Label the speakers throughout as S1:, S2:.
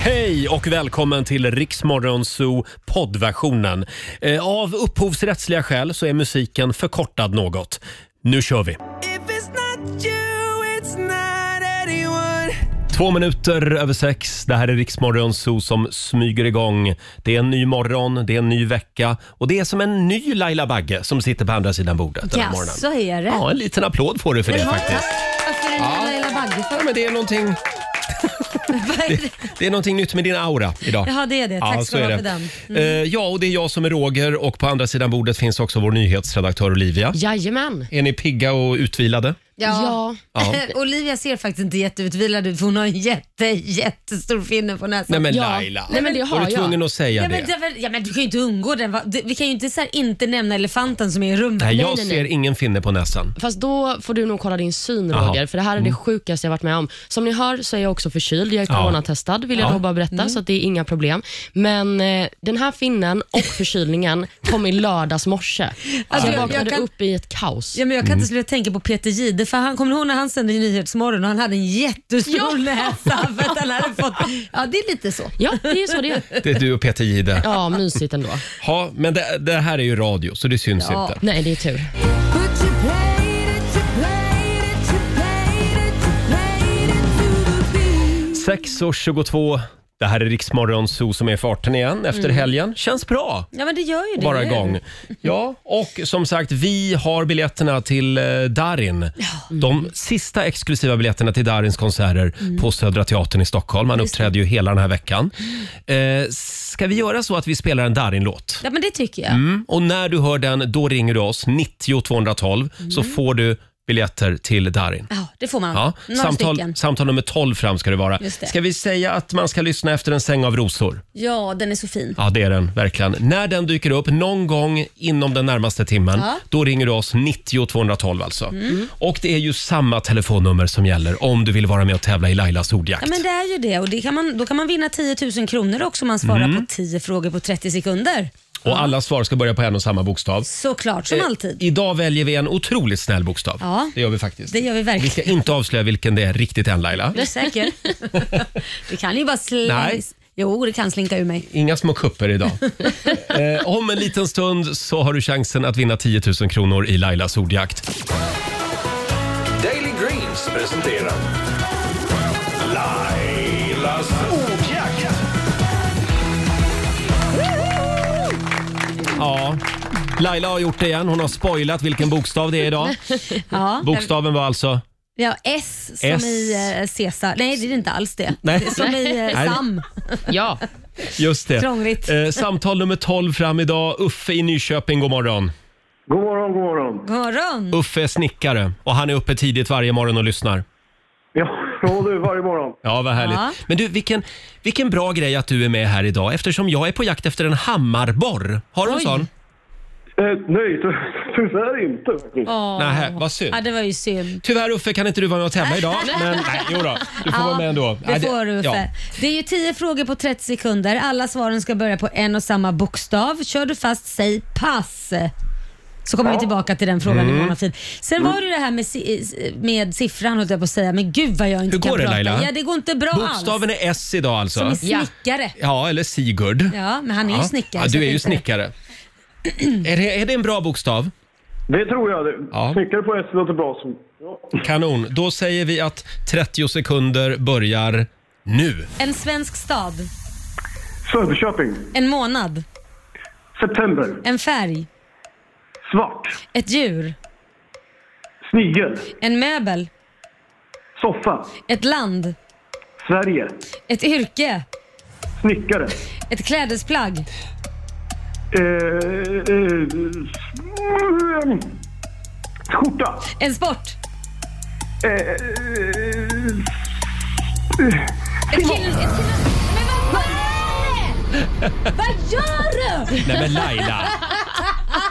S1: Hej och välkommen till Riksmorgon Zoo poddversionen. Eh, Av upphovsrättsliga skäl så är musiken förkortad något. Nu kör vi! Två minuter över sex. Det här är Riksmorgon Zoo som smyger igång. Det är en ny morgon, det är en ny vecka och det är som en ny Laila Bagge som sitter på andra sidan bordet den här morgonen.
S2: Jaså, är det?
S1: Ja, en liten applåd får du för det
S2: Jaha.
S1: faktiskt.
S2: Varför är det Laila Bagge
S1: Ja,
S2: för?
S1: men det är någonting...
S2: Vad är det?
S1: Det är någonting nytt med din aura idag.
S2: Jaha, det är det. Tack ska
S1: så
S2: du
S1: är
S2: ha
S1: det.
S2: för den. Mm.
S1: Eh, ja, och det är jag som är Roger och på andra sidan bordet finns också vår nyhetsredaktör Olivia.
S3: Jajamän.
S1: Är ni pigga och utvilade?
S3: Ja.
S1: Ja.
S2: Olivia ser faktiskt inte jätteutvilad ut för hon har en jätte, jättestor finne på näsan.
S1: Nej men
S3: Ja.
S1: Laila,
S3: Nej, men det har
S1: var du
S3: jag.
S1: tvungen att säga
S2: ja,
S1: det?
S2: men, det är väl- ja, men du kan ju inte undgå den. va? Du- Vi kan ju inte, så här, inte nämna elefanten som är i rummet.
S1: Nej, jag
S3: nej, nej.
S1: ser ingen finne på näsan.
S3: Fast då får du nog kolla din syn
S1: Jaha.
S3: Roger, för det här är det sjukaste jag varit med om. Som ni hör så är jag också förkyld. Jag är
S1: Ja.
S3: coronatestad vill jag
S1: Ja.
S3: då bara berätta, så att det är inga problem. Men eh, den här finnen och förkylningen kom i lördags morse.
S2: Alltså,
S3: jag
S2: jag-
S3: vaknade
S2: jag kan-
S3: upp i ett kaos.
S2: Ja, men jag kan inte sluta tänka på Peter Jihde, för han kommer du ihåg när han sände i Nyhetsmorgon och han hade en jättestor näsa för att han hade fått... Ja, det är lite så.
S3: Ja, det är så det är.
S1: Det är du och Peter Jihde.
S3: Ja, mysigt ändå.
S1: Ja, men det, det här är ju radio så det syns
S2: Ja.
S1: inte.
S3: Nej, det är tur.
S1: Sex och 22. Det här är Riksmorgon Zoo som är i farten igen efter
S3: Mm.
S1: helgen. Känns bra.
S2: Ja, men det gör ju det.
S1: Bara
S2: eller hur?
S1: igång. Ja, och som sagt, vi har biljetterna till eh, Darin. De sista exklusiva biljetterna till Darins konserter
S2: Mm.
S1: på Södra Teatern i Stockholm. Han uppträder ju hela den här veckan.
S2: Mm.
S1: Eh, ska vi göra så att vi spelar en Darin-låt?
S2: Ja, men det tycker jag.
S1: Mm. Och när du hör den, då ringer du oss, 90 212, så
S2: Mm.
S1: får du biljetter till Darin.
S2: Ja, det får man.
S1: Ja,
S2: Några
S1: samtal,
S2: stycken.
S1: samtal nummer 12 fram ska det vara.
S2: Just det.
S1: Ska vi säga att man ska lyssna efter en säng av rosor?
S2: Ja, den är så fin.
S1: Ja, det är den verkligen. När den dyker upp någon gång inom den närmaste timmen,
S2: Ja. Mm.
S1: då ringer du oss 90 212 alltså. Och det är ju samma telefonnummer som gäller om du vill vara med och tävla i Lailas ordjakt.
S2: Ja, men det är ju det. Och det kan man, då kan man vinna 10 000 kronor också om man svarar
S1: Mm.
S2: på 10 frågor på 30 sekunder.
S1: Och alla svar ska börja på en och samma bokstav.
S2: Såklart,
S1: Eh.
S2: som alltid.
S1: Idag väljer vi en otroligt snäll bokstav.
S2: Ja.
S1: Det gör vi faktiskt.
S2: Det gör vi verkligen.
S1: Vi ska inte avslöja vilken det är riktigt än Laila.
S2: Är du säker? det kan ju bara
S1: Nej.
S2: slinka... Jo, det kan slinka ur mig.
S1: Inga små kupper idag. eh, om en liten stund så har du chansen att vinna 10 000 kronor i Lailas ordjakt.
S4: Daily Greens presenterar Lailas ordjakt.
S1: Ja. Laila har gjort det igen. Hon har spoilat vilken bokstav det är idag.
S2: Ja,
S1: Bokstaven var alltså...
S2: ja, S som
S1: S.
S2: i eh, Caesar. Nej, det är inte alls det.
S1: Nej.
S2: Det är Som i eh,
S1: Nej.
S2: Sam.
S3: Ja.
S1: Just det.
S2: Krångligt.
S1: Eh, samtal nummer 12 fram idag. Uffe i Nyköping, god morgon.
S5: God morgon, god morgon.
S2: God morgon.
S1: Uffe är snickare och han är uppe tidigt varje morgon och lyssnar.
S5: Ja, ja, du, varje morgon.
S1: Ja, vad härligt.
S2: Ja.
S1: Men du, vilken, vilken bra grej att du är med här idag eftersom jag är på jakt efter en hammarborr. Har du en
S2: Oj.
S1: sån?
S5: Eh, nej, ty- tyvärr inte. faktiskt.
S2: Åh.
S1: Nähä, vad synd.
S2: Ja, det var ju synd.
S1: Tyvärr Uffe kan inte du vara med och tävla idag. Men nej, jo då, du får vara med ändå.
S2: Det
S1: Nej,
S2: får du Uffe.
S1: ja.
S2: Det är ju 10 frågor på 30 sekunder. Alla svaren ska börja på en och samma bokstav. Kör du fast, säg pass. Så kommer vi tillbaka till den frågan
S1: Mm.
S2: imorgon. Fin. Sen var det ju det här med, si- med siffran höll jag på att säga, men gud vad jag inte
S1: Hur
S2: kan
S1: går det,
S2: prata.
S1: Laila?
S2: Ja, det går inte bra
S1: Bokstaven är S idag alltså.
S2: alls. Som är
S3: Ja.
S2: snickare. Ja,
S1: Ja, eller Sigurd.
S2: men han är ju
S1: Ja.
S2: snickare.
S1: Ja,
S2: så
S1: du är
S2: jag
S1: ju
S2: tänkte-
S1: snickare. är, det, är det en bra bokstav?
S5: Det tror jag. Det.
S1: Ja.
S5: Snickare på S låter bra. Som... Ja.
S1: Kanon. Då säger vi att 30 sekunder börjar nu.
S2: En svensk stad,
S5: Söderköping.
S2: en månad,
S5: September.
S2: en färg,
S5: Svart.
S2: ett djur,
S5: Snigel.
S2: en möbel,
S5: Soffa.
S2: ett land,
S5: Sverige.
S2: ett yrke,
S5: Snickare.
S2: ett klädesplagg,
S5: Eh, eh, mm, skjorta.
S2: en sport.
S5: Eh, eh,
S2: Ett kill... Ett kill... Men vad fan! Vad gör du?
S1: Nej men Laila.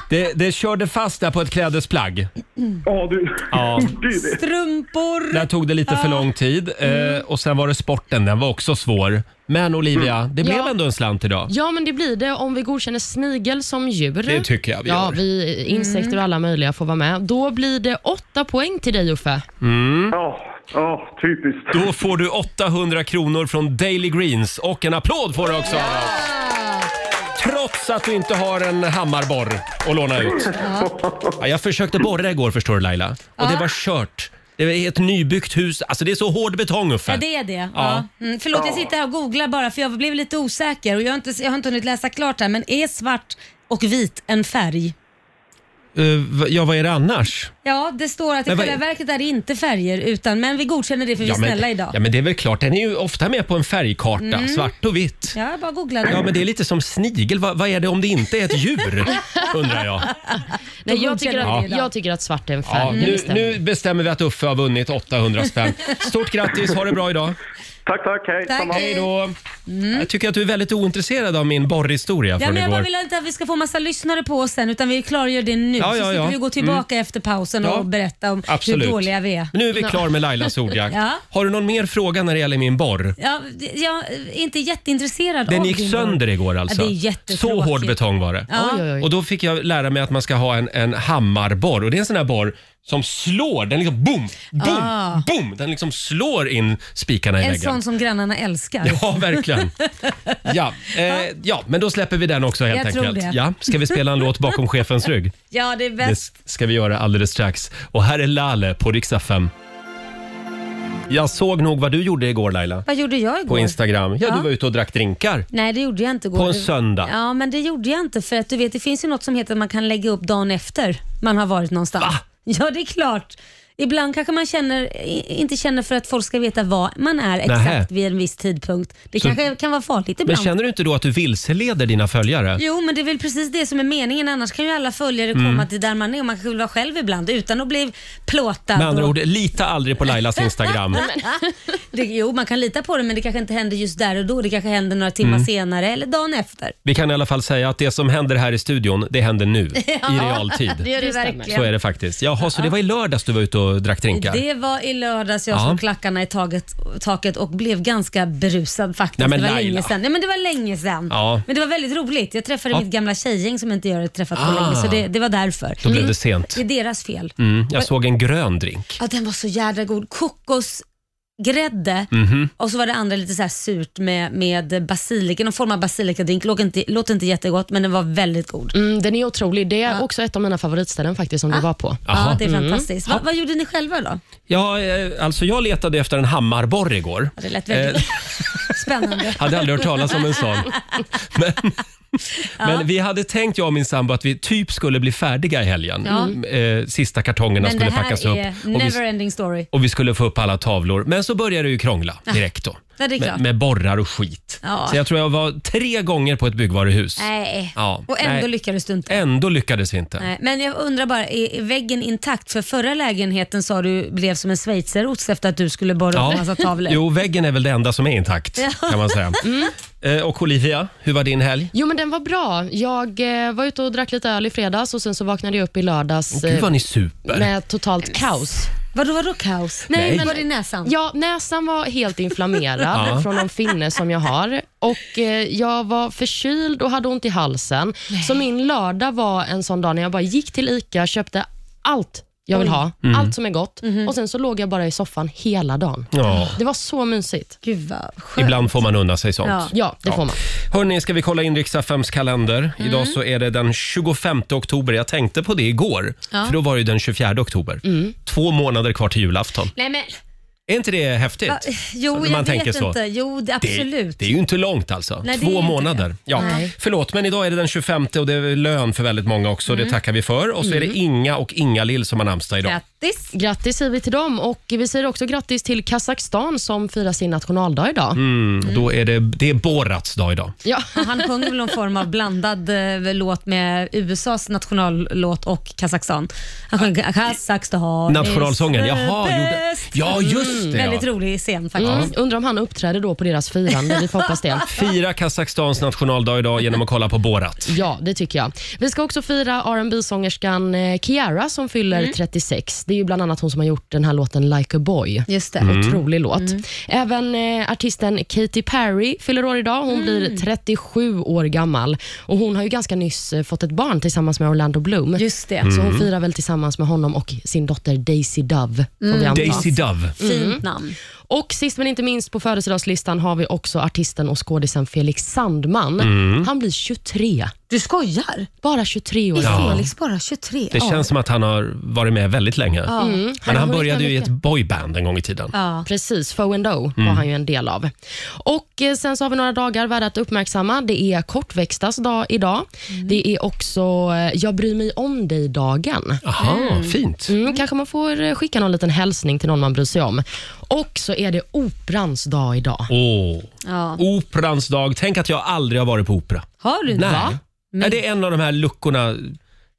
S1: Det, det körde fast där på ett klädesplagg.
S5: ja, du.
S1: Ja.
S5: Det är det.
S2: Strumpor.
S1: Där tog det lite för lång tid. Eh, och sen var det sporten, den var också svår. Men Olivia, det blev
S3: Ja.
S1: ändå en slant idag.
S3: ja, men det blir det om vi godkänner snigel som djur.
S1: Det tycker jag vi
S3: Ja,
S1: gör.
S3: Mm. vi, insekter och alla möjliga får vara med. Då blir det åtta poäng till dig Uffe.
S5: Ja. Ja, typiskt.
S1: Då får du 800 kronor från Daily Greens och en applåd får du också av oss. Trots att du inte har en hammarborr att låna ut. Ja, jag försökte borra igår förstår du Laila och det var kört. Det är ett nybyggt hus, alltså det är så hård betong Uffe.
S2: Ja, det är det. Ja. Mm, förlåt, jag sitter här och googlar bara för jag blev lite osäker och jag har inte, jag har inte hunnit läsa klart här, men är svart och vit en färg?
S1: Eh, va- ja, vad är det annars?
S2: Ja, det står att i
S1: Men vad-
S2: själva verket är det inte färger, utan, men vi godkänner det för vi är
S1: ja, men,
S2: snälla idag. Mm.
S1: Ja, men det är väl klart, den är ju ofta med på en färgkarta, svart och vitt.
S2: Ja, jag bara googlade.
S1: Ja, men det är lite som snigel. Vad, vad är det om det inte är ett djur? Undrar jag.
S3: Nej,
S2: Då
S3: jag, tycker
S2: godkänner vi
S3: att,
S2: det idag.
S3: jag tycker att svart är en färg.
S1: Ja,
S3: det
S1: nu,
S3: bestämmer.
S1: nu bestämmer vi att Uffe har vunnit 800 spänn. Stort grattis, ha det bra idag.
S5: Tack, tack. Hej.
S2: Tack,
S5: samma.
S1: Hej då. Jag tycker att du är väldigt ointresserad av min borrhistoria
S2: Mm. Ja,
S1: från
S2: men jag
S1: igår.
S2: bara vill inte att vi ska få massa lyssnare på oss sen utan vi klargör det nu.
S1: Ja, ja,
S2: så slipper
S1: ja. Mm.
S2: vi gå tillbaka efter pausen
S1: Ja.
S2: och berätta om
S1: Absolut.
S2: hur dåliga vi är.
S1: Nu är vi klar med Lailas ordjakt.
S2: Ja.
S1: Har du någon mer fråga när det gäller min borr?
S2: Ja, det- jag är inte jätteintresserad
S1: Den
S2: av
S1: gick
S2: din barn.
S1: sönder igår alltså.
S2: Ja, det är jättetråkigt.
S1: Så hård betong var det.
S2: Ja.
S3: Oj, oj, oj.
S1: Och då fick jag lära mig att man ska ha en, en hammarborr. Och det är en sån här borr som slår. Den liksom boom, boom,
S2: Ah.
S1: boom. Den liksom slår in spikarna i
S2: En
S1: väggen.
S2: sån som grannarna älskar.
S1: Ja, verkligen. Ja, eh, ja, men då släpper vi den också helt
S2: Jag tror
S1: enkelt.
S2: det.
S1: Ja, ska vi spela en låt bakom chefens rygg?
S2: Ja, det är
S1: Det
S2: bäst.
S1: s- ska vi göra alldeles strax. Och här är Lale på riksdag 5. Jag såg nog vad du gjorde igår Laila.
S2: Vad gjorde jag igår?
S1: På Instagram. Ja, du
S2: Ja.
S1: var ute och drack drinkar.
S2: Nej, det gjorde jag inte igår.
S1: På en
S2: Det-
S1: söndag.
S2: Ja, men det gjorde jag inte för att du vet, det finns ju något som heter att man kan lägga upp dagen efter man har varit någonstans.
S1: Va?
S2: Ja, det är klart. Ibland kanske man känner, i- inte känner för att folk ska veta vad man är exakt
S1: Nähä.
S2: vid en viss tidpunkt. Det
S1: Så-
S2: kanske kan vara farligt
S1: Men
S2: ibland.
S1: känner du inte då att du vilseleder dina följare?
S2: Jo, men det är väl precis det som är meningen. Annars kan ju alla följare
S1: Mm.
S2: komma till där man är och man kanske vill vara själv ibland utan att bli plåtad.
S1: Med andra
S2: och-
S1: ord, lita aldrig på Lailas Instagram.
S2: det, jo, man kan lita på det men det kanske inte händer just där och då. Det kanske händer några timmar senare eller dagen efter.
S1: Vi kan Mm. i alla fall säga att det som händer här i studion, det händer nu. I realtid.
S2: gör det
S3: stämmer.
S1: Så är det faktiskt. Jaha, så det var i lördags du var ute och drack drinkar?
S2: Det var i lördags jag
S1: Ja.
S2: slog klackarna i taget, taket och blev ganska berusad faktiskt.
S1: Nej, men
S2: det var
S1: Laila.
S2: länge sedan. Nej, men det var länge sedan.
S1: Ja.
S2: Men det var väldigt roligt. Jag träffade
S1: Ja.
S2: mitt gamla tjejgäng som inte jag hade träffat på
S1: Ah.
S2: länge. Så det, det var därför.
S1: Då blev det sent.
S2: Det är deras fel.
S1: Mm, jag såg en grön drink.
S2: Ja, den var så jädra god. Kokosgrädde
S1: Mhm.
S2: och så var det andra lite så här surt med, med basilika. Någon form av basilikadrink. Låter inte, låter inte jättegott men den var väldigt god.
S3: Mm, den är otrolig. Det är också ett av mina favoritställen faktiskt som du var på.
S1: Aha.
S2: Ja, det är fantastiskt. Va, vad gjorde ni själva då?
S1: Ja, eh, alltså jag letade efter en hammarborr igår.
S2: Ja, Det lät väldigt
S1: Eh,
S2: spännande.
S1: Hade aldrig hört talas om en sån. Men, men vi hade tänkt, jag och min sambo, att vi typ skulle bli färdiga i helgen. Eh, Sista kartongerna
S2: Men det
S1: skulle
S2: här
S1: packas upp.
S2: är
S1: och vi-
S2: neverending story.
S1: och vi skulle få upp alla tavlor. Men så började det ju krångla direkt då.
S2: Ja, det är klart.
S1: med, med borrar och skit.
S2: Ja.
S1: Så jag tror jag var tre gånger på ett byggvaruhus.
S2: Nej,
S1: Ja.
S2: och ändå
S1: Nej.
S2: lyckades du inte.
S1: Ändå lyckades vi inte.
S2: Nej, Men jag undrar bara, är är väggen intakt? För förra lägenheten sa du blev som en schweizerost efter att du skulle borra upp massa tavlor. Mm.
S1: Jo, väggen är väl det enda som är intakt kan man säga. Eh, och Olivia, hur var din helg?
S3: Jo, men den var bra. Jag eh, var ute och drack lite öl i fredags och sen så vaknade jag upp i lördags
S1: Gud
S3: eh,
S1: vad ni super.
S3: med totalt kaos.
S2: Vadå, vadå kaos?
S1: Nej.
S2: Var det näsan?
S3: Ja, näsan var helt inflammerad
S1: Ja.
S3: från någon finne som jag har. Och eh, Jag var förkyld och hade ont i halsen. Så min lördag var en sån dag när jag bara gick till ICA, köpte allt jag vill ha, allt som är gott och sen så låg jag bara i soffan hela dagen.
S1: Ja.
S3: Det var så mysigt.
S2: Gud vad skönt.
S1: Ibland får man unna sig sånt.
S2: Ja.
S3: Ja, det får man.
S1: Hörni, ska vi kolla in riksdagsfems kalender?
S2: Mm.
S1: Idag så är det den 25 oktober. Jag tänkte på det igår, för då var det ju den 24 oktober. Två månader kvar till julafton.
S2: Mm. Nej men,
S1: Är inte det häftigt?
S2: va, jo
S1: Alltså, Man
S2: jag vet
S1: tänker så.
S2: inte. Jo, det,
S1: Det,
S2: absolut.
S1: det är ju inte långt alltså.
S2: Nej, det är
S1: Två
S2: inte
S1: månader.
S2: det.
S1: Ja.
S2: Nej.
S1: Förlåt, men idag är det den 25 och det är lön för väldigt många också.
S2: Mm.
S1: Det tackar vi för. Och så är det Inga och Inga-Lill som har namnsdag idag.
S2: Grattis.
S3: Grattis säger vi till dem och vi säger också grattis till Kazakstan som firar sin nationaldag idag.
S1: Mm. Då är det, det är Borats dag idag.
S3: Ja.
S2: Och Han sjöng väl någon form av blandad eh, låt med USAs nationallåt och Kazakstan. Han sjöng Kazakstan
S1: Ah, Nationalsången.
S2: is the
S1: Jaha, gjorde...
S2: best. Mm,
S1: Ja, just det.
S2: Väldigt
S1: Ja.
S2: rolig scen faktiskt.
S3: Mm. Undrar om han uppträder då på deras firande. Vi får hoppas det.
S1: Fira Kazakstans nationaldag idag genom att kolla på Borat.
S3: Ja, det tycker jag. Vi ska också fira rb sångerskan Kiara som eh, fyller 36. Det är ju bland annat hon som har gjort den här låten Like a boy.
S2: Just
S1: Mm.
S2: det.
S3: Otrolig låt. Även eh, artisten Katy Perry fyller år idag. Hon blir 37 år gammal. Och Hon har ju ganska nyss eh, fått ett barn tillsammans med Orlando Bloom.
S2: Just det.
S1: Mm.
S3: Så hon firar väl tillsammans med honom och sin dotter Daisy Dove. får vi anta.
S1: Daisy Dove.
S3: Mm.
S2: Fint namn.
S3: Och sist men inte minst på födelsedagslistan har vi också artisten och skådisen Felix Sandman. Han blir 23.
S2: Du skojar?
S3: Bara 23 år
S2: Är
S3: gammal.
S2: Felix bara 23?
S1: Det känns som att han har varit med väldigt länge.
S3: Mm.
S1: Men han
S3: har hunnit
S1: började
S3: med
S1: ju i ett
S3: mycket.
S1: boyband en gång i tiden.
S2: Ja.
S3: Precis, Foe and O var han ju en del av. Och eh, Sen så har vi några dagar värda att uppmärksamma. Det är kortväxtas dag idag. Det är också eh, Jag bryr mig om dig-dagen.
S1: Aha, fint.
S3: Mm, kanske man får eh, skicka någon liten hälsning till någon man bryr sig om. Och så är det operans dag idag.
S1: Åh,
S2: Ja.
S1: Operans dag. Tänk att jag aldrig har varit på opera.
S2: Har du inte?
S1: Nej.
S2: Va?
S1: Nej, det är en av de här luckorna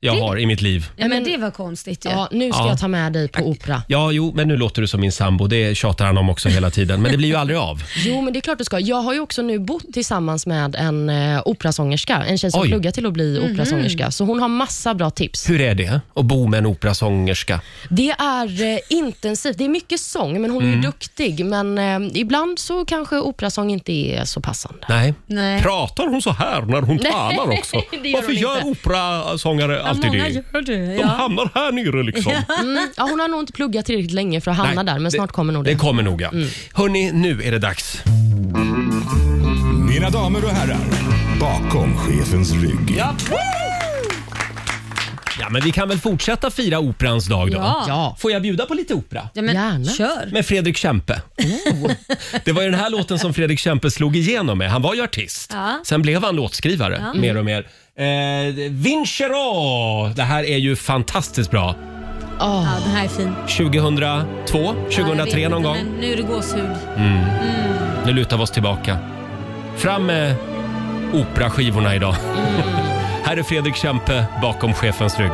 S1: jag har i mitt liv.
S2: Ja, men det var konstigt ju.
S3: Ja, nu ska
S1: Ja.
S3: jag ta med dig på opera.
S1: Ja, jo, men nu låter du som min sambo. Det tjatar han om också hela tiden. Men det blir ju aldrig av.
S3: Jo, men det är klart du ska. Jag har ju också nu bott tillsammans med en eh, operasångerska. En tjej som
S1: Oj.
S3: pluggar till att bli operasångerska. Så hon har massa bra tips.
S1: Hur är det att bo med en operasångerska?
S3: Det är eh, intensivt. Det är mycket sång, men hon
S1: Mm.
S3: är ju duktig. Men eh, ibland så kanske operasång inte är så passande.
S1: Nej.
S2: Nej.
S1: Pratar hon så här när hon talar också?
S3: det gör
S1: Varför
S3: hon
S1: gör
S3: inte.
S1: operasångare alltid
S2: många
S1: det?
S2: gör det.
S1: De
S2: Ja.
S1: hamnar här nere liksom.
S3: Mm, ja, hon har nog inte pluggat tillräckligt länge för att hamna
S1: Nej,
S3: där, men snart kommer nog det. Mm.
S1: Det kommer nog ja. Hörni, nu är det dags.
S6: Mina damer och herrar, bakom chefens rygg.
S1: Ja. ja, men vi kan väl fortsätta fira operans dag då?
S2: Ja.
S3: Ja.
S1: Får jag bjuda på lite opera?
S2: Ja, men
S3: Gärna.
S2: kör.
S1: Med Fredrik Kempe.
S2: Oh.
S1: Det var ju den här låten som Fredrik Kempe slog igenom med. Han var ju artist.
S2: Ja.
S1: Sen blev han låtskrivare mer och mer. Eh, Vincero! Det här är ju fantastiskt bra.
S3: Åh,
S2: Ja, den här är fin.
S1: 2002,
S2: Ja, jag vet
S1: 2003 någon
S2: inte,
S1: gång.
S2: men Nu är det gåshud.
S1: Nu lutar vi oss tillbaka. Fram med operaskivorna idag.
S2: Mm.
S1: Här är Fredrik Kempe bakom chefens rygg.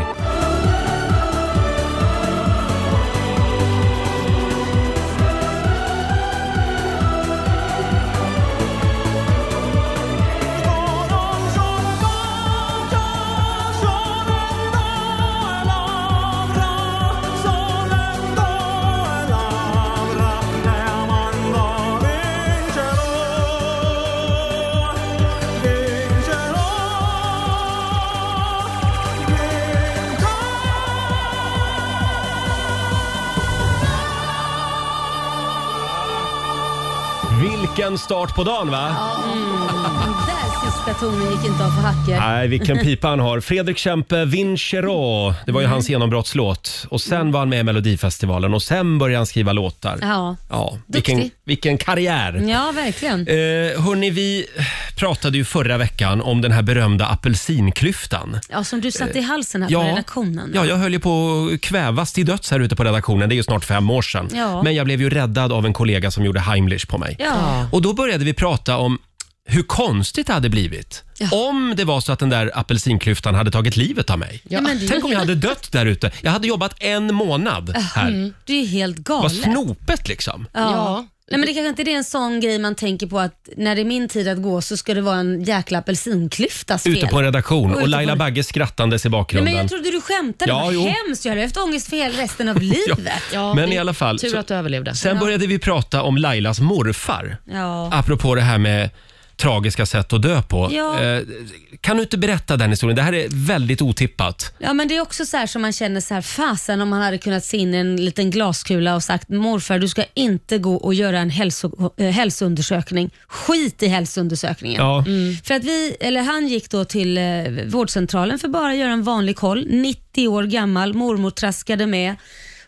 S1: Vilken start på dagen va?
S2: Den där sista tonen gick inte av för hacker.
S1: Nej, vilken pipa han har. Fredrik Kempe, Vincero. Det var ju
S2: Mm.
S1: hans genombrottslåt. Och sen var han med i Melodifestivalen och sen började han skriva låtar.
S2: Ja.
S1: Ja, vilken,
S2: Duktig.
S1: vilken karriär.
S2: Ja, verkligen.
S1: Eh, hörni, vi pratade ju förra veckan om den här berömda apelsinklyftan.
S2: Ja, som du satte i halsen här på redaktionen.
S1: eh, ja, jag höll ju på att kvävas till döds här ute på redaktionen. Det är ju snart fem år sedan.
S2: Ja.
S1: Men jag blev ju räddad av en kollega som gjorde Heimlich på mig.
S2: Ja.
S1: Och då började vi prata om hur konstigt det hade blivit om det var så att den där apelsinklyftan hade tagit livet av mig.
S2: Ja, men det-
S1: Tänk om jag hade dött där ute. Jag hade jobbat en månad här.
S2: Det är ju helt
S1: Vad
S2: galet.
S1: snopet liksom.
S2: Ja.
S3: Ja.
S2: Nej, men det kanske inte det är en sån grej man tänker på att när det är min tid att gå så ska det vara en jäkla apelsinklyftas fel.
S1: Ute på en redaktion
S2: ute
S1: och
S2: på
S1: Laila
S2: en-
S1: Bagge skrattandes i
S2: Nej,
S1: bakgrunden.
S2: men jag trodde du skämtade.
S1: Ja,
S2: Vad
S1: jo.
S2: hemskt. Jag hade haft ångest för hela resten av livet.
S3: ja,
S1: Men
S3: det-
S1: i alla fall,
S3: Tur
S1: så-
S3: att du överlevde.
S1: Sen började vi prata om Lailas morfar.
S2: Ja.
S1: Apropå det här med tragiska sätt att dö på.
S2: Ja.
S1: Eh, kan du inte berätta den historien? Det här är väldigt otippat.
S2: Ja men det är också så här som man känner så här, fasen om man hade kunnat se in en liten glaskula och sagt morfar du ska inte gå och göra en hälso, eh, hälsoundersökning. Skit i hälsoundersökningen.
S1: Ja.
S2: För att vi, eller han gick då till eh, vårdcentralen för bara att göra en vanlig koll. 90 år gammal, mormor traskade med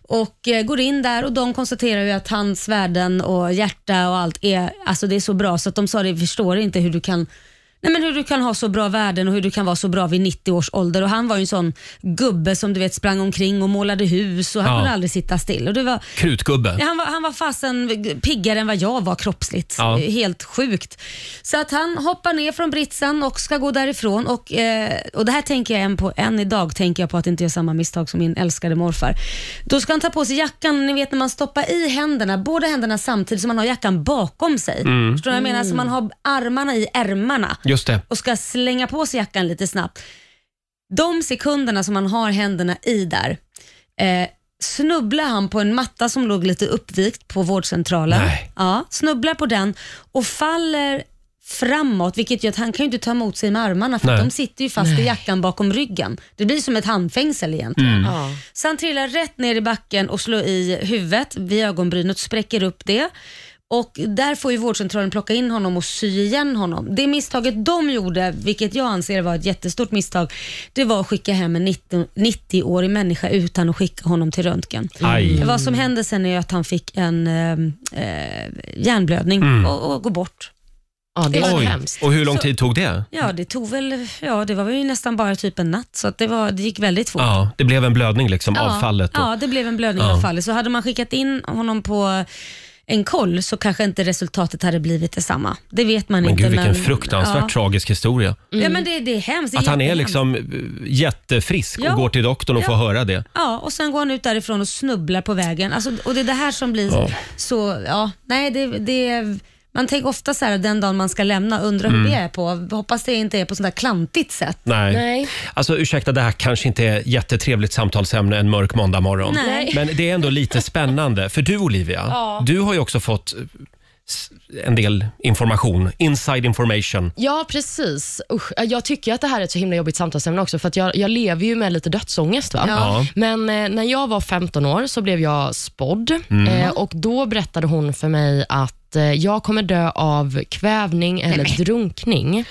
S2: och eh, går in där och de konstaterar ju att hans värden och hjärta och allt är, alltså det är så bra så att de sa det, vi förstår inte hur du kan Nej, men hur du kan ha så bra värden och hur du kan vara så bra vid 90 års ålder. Och han var ju en sån gubbe som du vet sprang omkring och målade hus och han
S1: Ja.
S2: kunde aldrig sitta still. Och det var,
S1: Krutgubbe.
S2: Ja, Han var, han var fasen piggare än vad jag var kroppsligt.
S1: Ja.
S2: Helt sjukt. Så att han hoppar ner från britsen och ska gå därifrån. Och, eh, och det här tänker jag än på, än idag tänker jag på att inte göra samma misstag som min älskade morfar. Då ska han ta på sig jackan, ni vet när man stoppar i händerna, båda händerna samtidigt som man har jackan bakom sig. Förstår du vad jag menar? Så man har armarna i ärmarna
S1: Just det.
S2: och ska slänga på sig jackan lite snabbt. De sekunderna som man har händerna i där, eh, snubblade han på en matta som låg lite uppvikt på vårdcentralen.
S1: Nej.
S2: Ja, snubblar på den och faller framåt, vilket gör att han kan ju inte ta emot sig med armarna för att
S1: Nej.
S2: de sitter ju fast i jackan bakom ryggen. Det blir som ett handfängsel
S1: Mm.
S2: egentligen.
S3: Ja.
S2: Så han trillar rätt ner i backen och slår i huvudet vid ögonbrynet, spräcker upp det. Och där får ju vårdcentralen plocka in honom och sy igen honom. Det misstaget de gjorde, vilket jag anser var ett jättestort misstag, det var att skicka hem en 90 90-årig människa utan att skicka honom till röntgen.
S1: Aj.
S2: Vad som hände sen är ju att han fick en eh, eh, hjärnblödning och, och går bort.
S3: Ja, det är så
S1: Oj.
S3: hemskt.
S1: Och hur lång tid tog det?
S2: Ja, det tog väl, ja det var ju nästan bara typ en natt, så att det, var, det gick väldigt fort.
S1: Ja, det blev en blödning liksom av fallet. Och,
S2: Ja, det blev en blödning
S1: Ja.
S2: av fallet. Så hade man skickat in honom på en koll så kanske inte resultatet hade blivit detsamma. Det vet man
S1: men
S2: inte.
S1: gud vilken
S2: men-
S1: fruktansvärt
S2: ja.
S1: tragisk historia.
S2: Ja, men det, det är hemskt. Det
S1: Att han är
S2: jättehemskt.
S1: liksom eh, jättefrisk
S2: Ja.
S1: och går till doktorn och får höra det.
S2: Ja, och sen går han ut därifrån och snubblar på vägen. Alltså, och det är det här som blir
S1: Ja.
S2: så, ja, nej det, det man tänker ofta så här den dagen man ska lämna, undrar
S1: Mm.
S2: hur det är på, hoppas det inte är på sånt där klantigt sätt.
S1: Nej.
S3: Nej.
S1: Alltså ursäkta, det här kanske inte är jättetrevligt samtalsämne en mörk måndag morgon.
S2: Nej.
S1: Men det är ändå lite spännande. För du Olivia, du har ju också fått eh, s- en del information, inside information.
S3: Ja, precis. Usch, jag tycker att det här är ett så himla jobbigt samtalsämne också, för att jag, jag lever ju med lite dödsångest. Va?
S1: Ja.
S3: Men eh, när jag var 15 år så blev jag spådd
S1: Mm.
S3: eh, och då berättade hon för mig att eh, jag kommer dö av kvävning eller drunkning.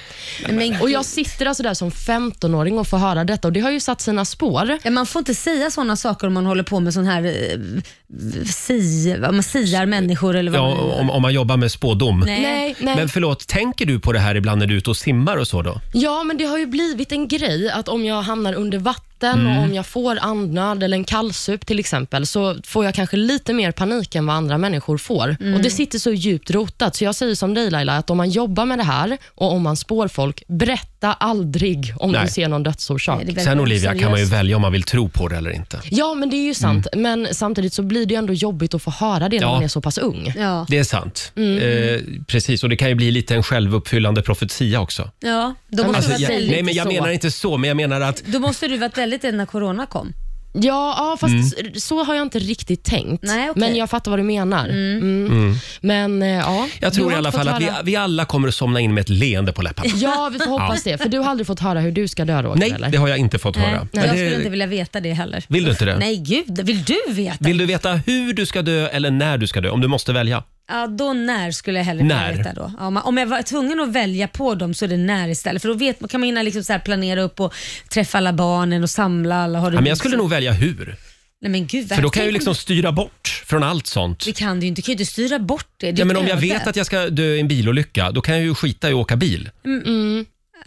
S2: Men,
S3: Och Jag sitter alltså där som 15-åring och får höra detta och det har ju satt sina spår.
S2: Ja, man får inte säga sådana saker om man håller på med sån här eh, si, vad man siar människor eller vad
S1: Ja,
S2: man
S1: om, om man jobbar med spådom.
S2: Nej.
S3: Nej, nej.
S1: Men förlåt, tänker du på det här ibland när du är ute och simmar och så då?
S3: Ja, men det har ju blivit en grej att om jag hamnar under vatten
S1: Mm.
S3: och om jag får andnöd eller en kallsup till exempel, så får jag kanske lite mer panik än vad andra människor får.
S2: Mm.
S3: Och Det sitter så djupt rotat, så jag säger som dig Laila, att om man jobbar med det här och om man spår folk, berätta aldrig om
S1: Nej.
S3: du ser någon dödsorsak.
S2: Nej, det är väldigt
S1: Sen Olivia kan man ju
S2: oseriöst.
S1: välja om man vill tro på det eller inte.
S3: Ja, men det är ju sant, men samtidigt så blir det ju ändå jobbigt att få höra det när
S1: Mm. Ja.
S3: man är så pass ung.
S2: Ja.
S1: Det är sant.
S2: Mm.
S1: Eh, precis, och det kan ju bli lite en självuppfyllande profetia också.
S2: ja, då måste
S1: Alltså,
S2: du varit
S1: jag,
S2: väldigt...
S1: nej, men jag
S3: så.
S1: menar inte så, men jag menar att
S2: Då måste du varit väldigt rädd när corona kom.
S3: Ja, ja fast
S1: Mm.
S3: s- så har jag inte riktigt tänkt.
S2: Nej, okej.
S3: Men jag fattar vad du menar. Mm. Men eh, ja.
S1: jag
S3: Du
S1: tror
S3: har
S1: i alla
S3: inte
S1: fall
S3: fått
S1: att vi,
S3: höra-
S1: vi alla kommer att somna in med ett leende på läpparna.
S3: Ja, vi får hoppas det. För du har aldrig fått höra hur du ska dö, Roger?
S1: Nej,
S3: eller?
S1: det har jag inte fått
S2: Nej.
S1: höra.
S2: Jag
S1: Men
S2: skulle
S1: det-
S2: inte vilja veta det heller.
S1: Vill du inte det?
S2: Nej, gud. Vill du veta?
S1: Vill du veta hur du ska dö eller när du ska dö? Om du måste välja.
S2: Ja, då när skulle jag hellre vilja
S1: När?
S2: veta då. Ja, om- om jag var tvungen att välja på dem så är det när istället. För då vet, kan man hinna liksom så här planera upp och träffa alla barnen och samla alla. Har du
S1: Ja, men jag skulle nog välja hur.
S2: Nej, men gud,
S1: För då
S2: verkligen.
S1: kan jag ju liksom styra bort från allt sånt.
S2: Det kan du ju inte. Du kan ju inte styra bort det. det är
S1: Ja, men
S2: ett
S1: om jag
S2: öde.
S1: vet att jag ska dö i en bilolycka, då kan jag ju skita i att åka
S2: Mm.
S1: bil.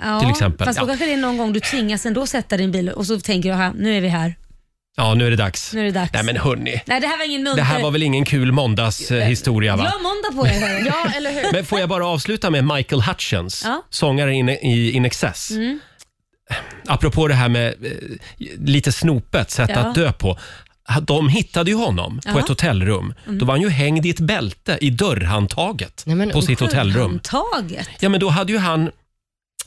S2: Ja,
S1: till exempel.
S2: Fast då
S1: Ja.
S2: kanske det är någon gång du tvingas ändå sätta din bil och så tänker du, "Aha, nu är vi här.
S1: Ja, nu är det dags.
S2: Nu är det dags.
S1: Nej men hörni,
S2: Nej, det här var ingen munter.
S1: det här var väl ingen kul måndagshistoria va?
S2: Jag har måndag på er. hörru.
S3: Ja, eller hur?
S1: Men får jag bara avsluta med Michael Hutchins,
S2: Ja. Mm.
S1: sångaren in, i In Excess. Apropå det här med eh, lite snopet sätt
S2: Ja.
S1: att dö på. Ha- De hittade ju honom på
S2: Ja. Mm.
S1: ett hotellrum. Då var han ju hängd i ett bälte i dörrhandtaget
S3: Nej, men
S1: på sitt hotellrum.
S2: Handtaget.
S1: Ja, men då hade ju han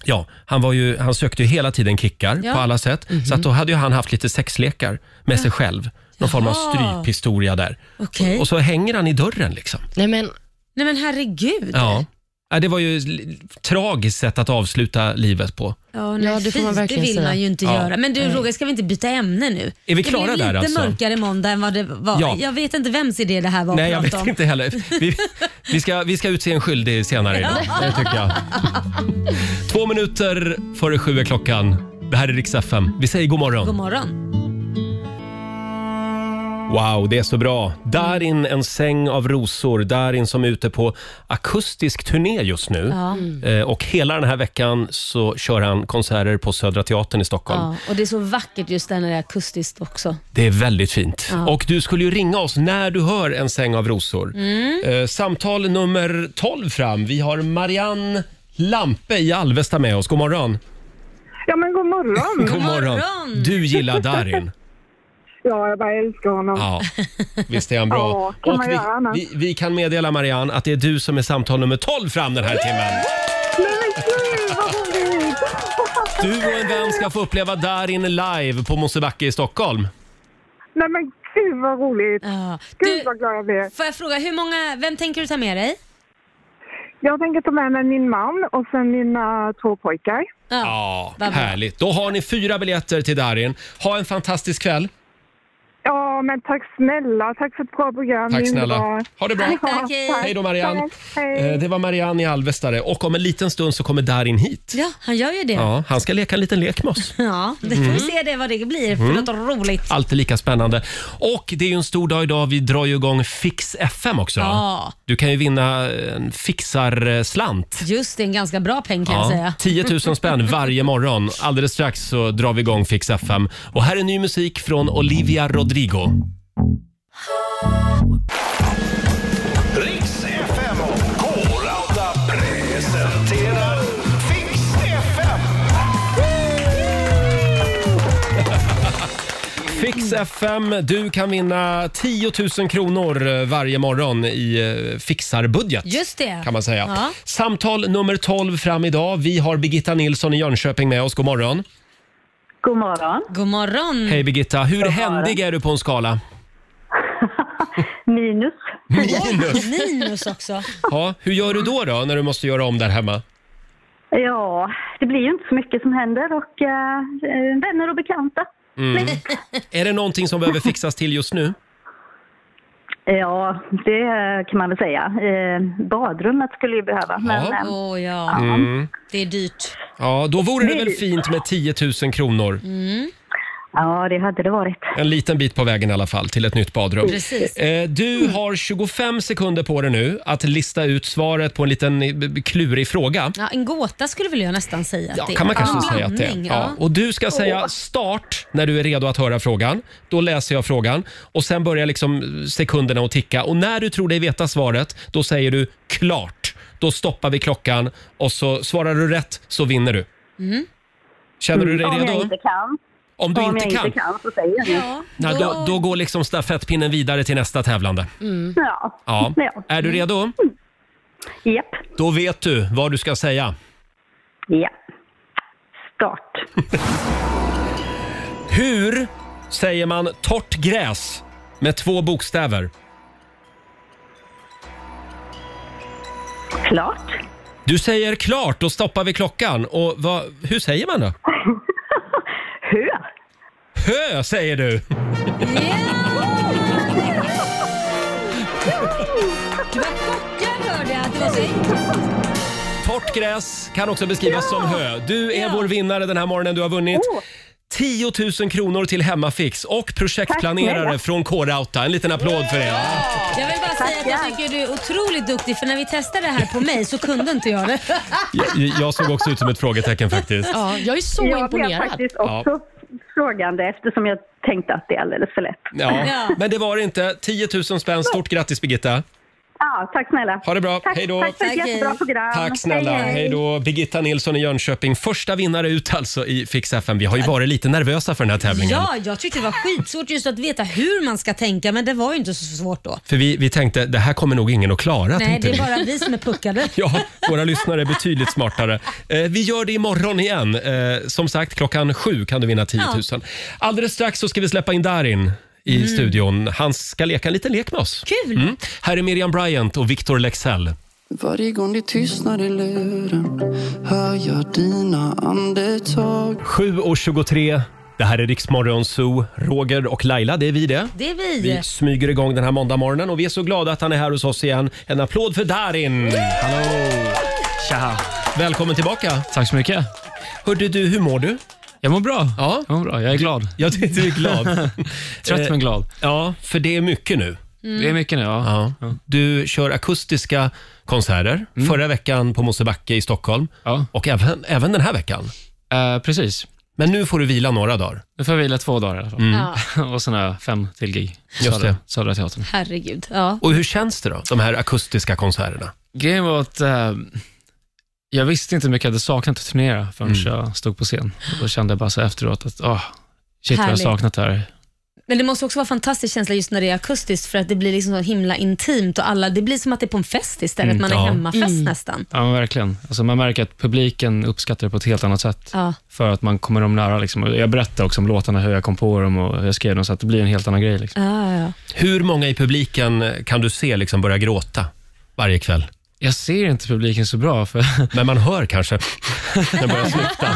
S1: Ja, han, var ju, han sökte ju hela tiden kickar
S2: Ja. Mhm.
S1: på alla sätt. Så att då hade ju han haft lite sexlekar med sig själv. Någon form av
S2: Jaha.
S1: stryphistoria där.
S2: Okej.
S1: Och så hänger han i dörren liksom.
S3: Nej, men
S2: Nej men herregud.
S1: Ja. Ja, det var ju ett li- tragiskt sätt att avsluta livet på.
S2: Ja, nej,
S3: Ja, det får man
S2: fy,
S3: verkligen
S2: det vill
S3: säga.
S2: man ju inte
S1: Ja.
S2: göra. Men du Roger, ska vi inte byta ämne nu?
S1: vi klara
S2: det blev
S1: där,
S2: lite
S1: alltså?
S2: mörkare måndag än vad det var.
S1: Ja.
S2: Jag vet inte vems idé det här var
S1: Nej,
S2: att
S1: jag
S2: prata
S1: vet
S2: om.
S1: inte heller. Vi, vi, ska, vi ska utse en skyldig senare idag, det tycker jag. Två minuter före sju är klockan. Det här är Rix FM. Vi säger god
S2: God
S1: morgon.
S2: morgon.
S1: Wow, det är så bra. Darin, en säng av rosor. Darin som är ute på akustisk turné just nu. Eh, Och hela den här veckan så kör han konserter på Södra Teatern i Stockholm.
S2: Ja, och det är så vackert just där när det är akustiskt också.
S1: Det är väldigt fint. Och du skulle ju ringa oss när du hör en säng av rosor.
S2: Mm.
S1: Eh, samtal nummer 12 fram. Vi har Marianne Lampe i Alvesta med oss. God morgon.
S7: Ja, men god morgon.
S1: God
S2: morgon.
S1: Du gillar Darin.
S7: Ja, jag bara älskar honom.
S1: Ja, visst är han bra.
S7: Ja, kan
S1: Och
S7: man göra annars?
S1: vi, vi, vi kan meddela Marianne att det är du som är samtal nummer 12 fram den här timmen.
S7: Nej, men gud, vad roligt!
S1: Du och en vän ska få uppleva Darin live på Mosebacke i Stockholm.
S7: Nej, men Gud vad roligt!
S2: Ja.
S7: Gud
S2: Du,
S7: vad glad jag blir.
S2: får jag fråga, hur många, vem tänker du ta med dig?
S7: Jag tänker ta med mig min man och sen mina två pojkar.
S1: Ja,
S2: vad bra.
S1: härligt. Då har ni fyra biljetter till Darin. Ha en fantastisk kväll.
S7: Ja, men tack snälla. Tack för ett bra program.
S1: Tack
S7: Ni är
S1: snälla.
S7: underbara.
S1: Ha det bra.
S2: Tack, tack, hej.
S7: tack.
S1: Hej då Marianne.
S7: Tack, hej.
S1: Eh, Det var Marianne i Alvesta det. och om en liten stund så kommer Darin hit.
S2: Ja, han gör ju det. Ja,
S1: Ja, Mm. han ska leka en liten lek med oss.
S2: det får vi se det, vad det blir
S1: Mm.
S2: för något roligt.
S1: Alltid lika spännande. Och det är ju en stor dag idag. Vi drar ju igång Fix FM också.
S2: Ja.
S1: Du kan ju vinna en fixarslant.
S2: Just det, en ganska bra peng kan jag
S1: Ja,
S2: säga.
S1: 10 000 spänn varje morgon. Alldeles strax så drar vi igång Fix FM. Och här är ny musik från Olivia Rodrigo.
S4: Riks FM och K-Rauta presenterar Fix FM.
S1: Fix FM, du kan vinna 10 000 kronor eh, varje morgon i eh, fixarbudget.
S2: Just det.
S1: Kan man säga.
S2: Ja.
S1: Samtal nummer 12 fram idag. Vi har Birgitta Nilsson i Jönköping med oss. God morgon.
S8: God morgon.
S2: God morgon.
S1: Hej Birgitta, hur händig är du på en skala?
S8: Minus.
S1: Minus.
S2: Minus också.
S1: Ja, hur gör du då, då när du måste göra om där hemma?
S8: Ja, det blir ju inte så mycket som händer och eh, eh, vänner och bekanta.
S1: Är det någonting som behöver fixas till just nu?
S8: Ja, det eh, kan man väl säga. Eh, badrummet skulle ju behöva. Men,
S1: Ja.
S8: eh,
S2: Åh ja,
S1: Mm.
S2: det är dyrt.
S1: Ja, då vore det väl fint med 10 000 kronor.
S8: ja, det hade det varit.
S1: En liten bit på vägen i alla fall till ett nytt badrum.
S2: Precis.
S1: Eh, Du har 25 sekunder på dig nu att lista ut svaret på en liten eh, b- b- klurig fråga.
S2: Ja, en gåta skulle väl jag nästan säga att
S1: Ja,
S2: det är.
S1: kan man kanske
S2: En
S1: säga att det är.
S2: blandning,
S1: Ja. Och du ska säga start när du är redo att höra frågan. Då läser jag frågan och sen börjar liksom sekunderna att ticka. Och när du tror dig veta svaret, då säger du klart. Då stoppar vi klockan och så svarar du rätt så vinner du. Känner du dig
S9: Mm.
S8: Om jag
S1: redo?
S8: inte kan.
S1: Om du
S8: Om
S1: inte
S8: jag
S1: kan?
S8: inte kan så säger jag inget.
S2: Ja,
S1: Nej, då, då går liksom stafettpinnen vidare till nästa tävlande.
S8: Ja.
S1: Ja.
S8: Ja.
S1: Är du redo?
S8: Japp.
S1: Då vet du vad du ska säga.
S8: Ja. Start.
S1: Hur säger man torrt gräs med två bokstäver?
S8: Klart.
S1: Du säger klart, då stoppar vi klockan. Och vad, hur säger man då?
S8: Hö.
S1: Hö säger du!
S2: Jag hörde att det var så
S1: Torrt gräs kan också beskrivas som hö. Du är vår vinnare den här morgonen. Du har vunnit 10 000 kronor till Hemmafix och projektplanerare
S8: snälla.
S1: från K-Rauta. En liten applåd för det.
S2: Jag vill bara säga att jag tycker du är otroligt duktig för när vi testade det här på mig så kunde inte jag det.
S1: Jag, jag såg också ut som ett frågetecken faktiskt.
S3: Ja, jag är så
S8: Jag blev
S3: imponerad.
S8: faktiskt också frågande eftersom jag tänkte att det är alldeles för lätt.
S1: Ja.
S2: Ja.
S1: Men det var det inte. 10 000 spänn. Stort grattis Birgitta.
S8: Ja, tack snälla.
S1: Ha det bra.
S8: Tack,
S1: Hej då.
S8: Tack för ett
S2: Tack, hej.
S8: jättebra program.
S1: Tack snälla. Hej då. Birgitta Nilsson i Jönköping. Första vinnare ut alltså i Fix FM. Vi har ju varit lite nervösa för den här tävlingen.
S2: Ja, jag tyckte det var skitsvårt just att veta hur man ska tänka men det var ju inte så svårt då.
S1: För vi, vi tänkte, det här kommer nog ingen att klara.
S2: Nej,
S1: tänkte
S2: det är
S1: vi.
S2: bara vi som är puckade.
S1: Ja, våra lyssnare är betydligt smartare. Eh, vi gör det imorgon igen. Eh, som sagt, klockan sju kan du vinna 10 000. Alldeles strax så ska vi släppa in Darin i studion. Han ska leka en liten lek med oss.
S2: Mm. Kul!
S1: Mm. Här är Miriam Bryant och Victor Lexell.
S10: Varje gång det tystnar i luren hör jag dina andetag
S1: 7.23. Det här är Riksmorgon Zoo. Roger och Laila, det är vi det.
S2: Det är vi.
S1: Vi smyger igång den här måndagmorgonen och vi är så glada att han är här hos oss igen. En applåd för Darin! Hallå!
S11: Tja!
S1: Välkommen tillbaka!
S11: Tack så mycket.
S1: Hörde du, hur mår du?
S11: Jag mår bra.
S1: Ja.
S11: Jag mår bra. Jag är glad.
S1: Ja, du du är glad. Eh,
S11: Trött men glad. Mm.
S1: Ja, för det är mycket nu.
S11: Det är mycket nu. Ja. Mm.
S1: Ja. Du kör akustiska konserter. Förra veckan på Mosebacke i Stockholm
S11: Ja.
S1: och även, även den här veckan.
S11: Eh, precis.
S1: Men nu får du vila några dagar.
S11: Nu får jag vila två dagar i alla fall.
S2: Ja,
S11: Och sen har jag fem till gig.
S1: Just
S11: Södra,
S1: det.
S11: Södra Teatern.
S2: herregud. Ja.
S1: Och hur känns det då, de här akustiska konserterna?
S11: Grejen var att eh, jag visste inte hur mycket jag hade saknat att turnera
S6: Mm.
S11: ah, förrän jag stod på scen. Och då kände jag bara så efteråt att åh, shit vad jag har
S2: Härligt.
S11: saknat det här.
S2: Men det måste också vara en fantastisk känsla just när det är akustiskt för att det blir liksom så himla intimt och alla, det blir som att det är på en fest istället,
S11: Mm,
S2: man är
S11: ja.
S2: hemmafest
S11: Mm.
S2: nästan.
S11: Ja, men verkligen. Alltså, man märker att publiken uppskattar det på ett helt annat sätt.
S2: Ja.
S11: För att man kommer dem nära. Liksom. Och Jag berättar också om låtarna, hur jag kom på dem och hur jag skrev dem, så att det blir en helt annan grej. Liksom.
S2: Ja, ja.
S1: Hur många i publiken kan du se liksom börja gråta varje kväll?
S11: Jag ser inte publiken så bra. För...
S1: Men man hör kanske. Den börjar snukta.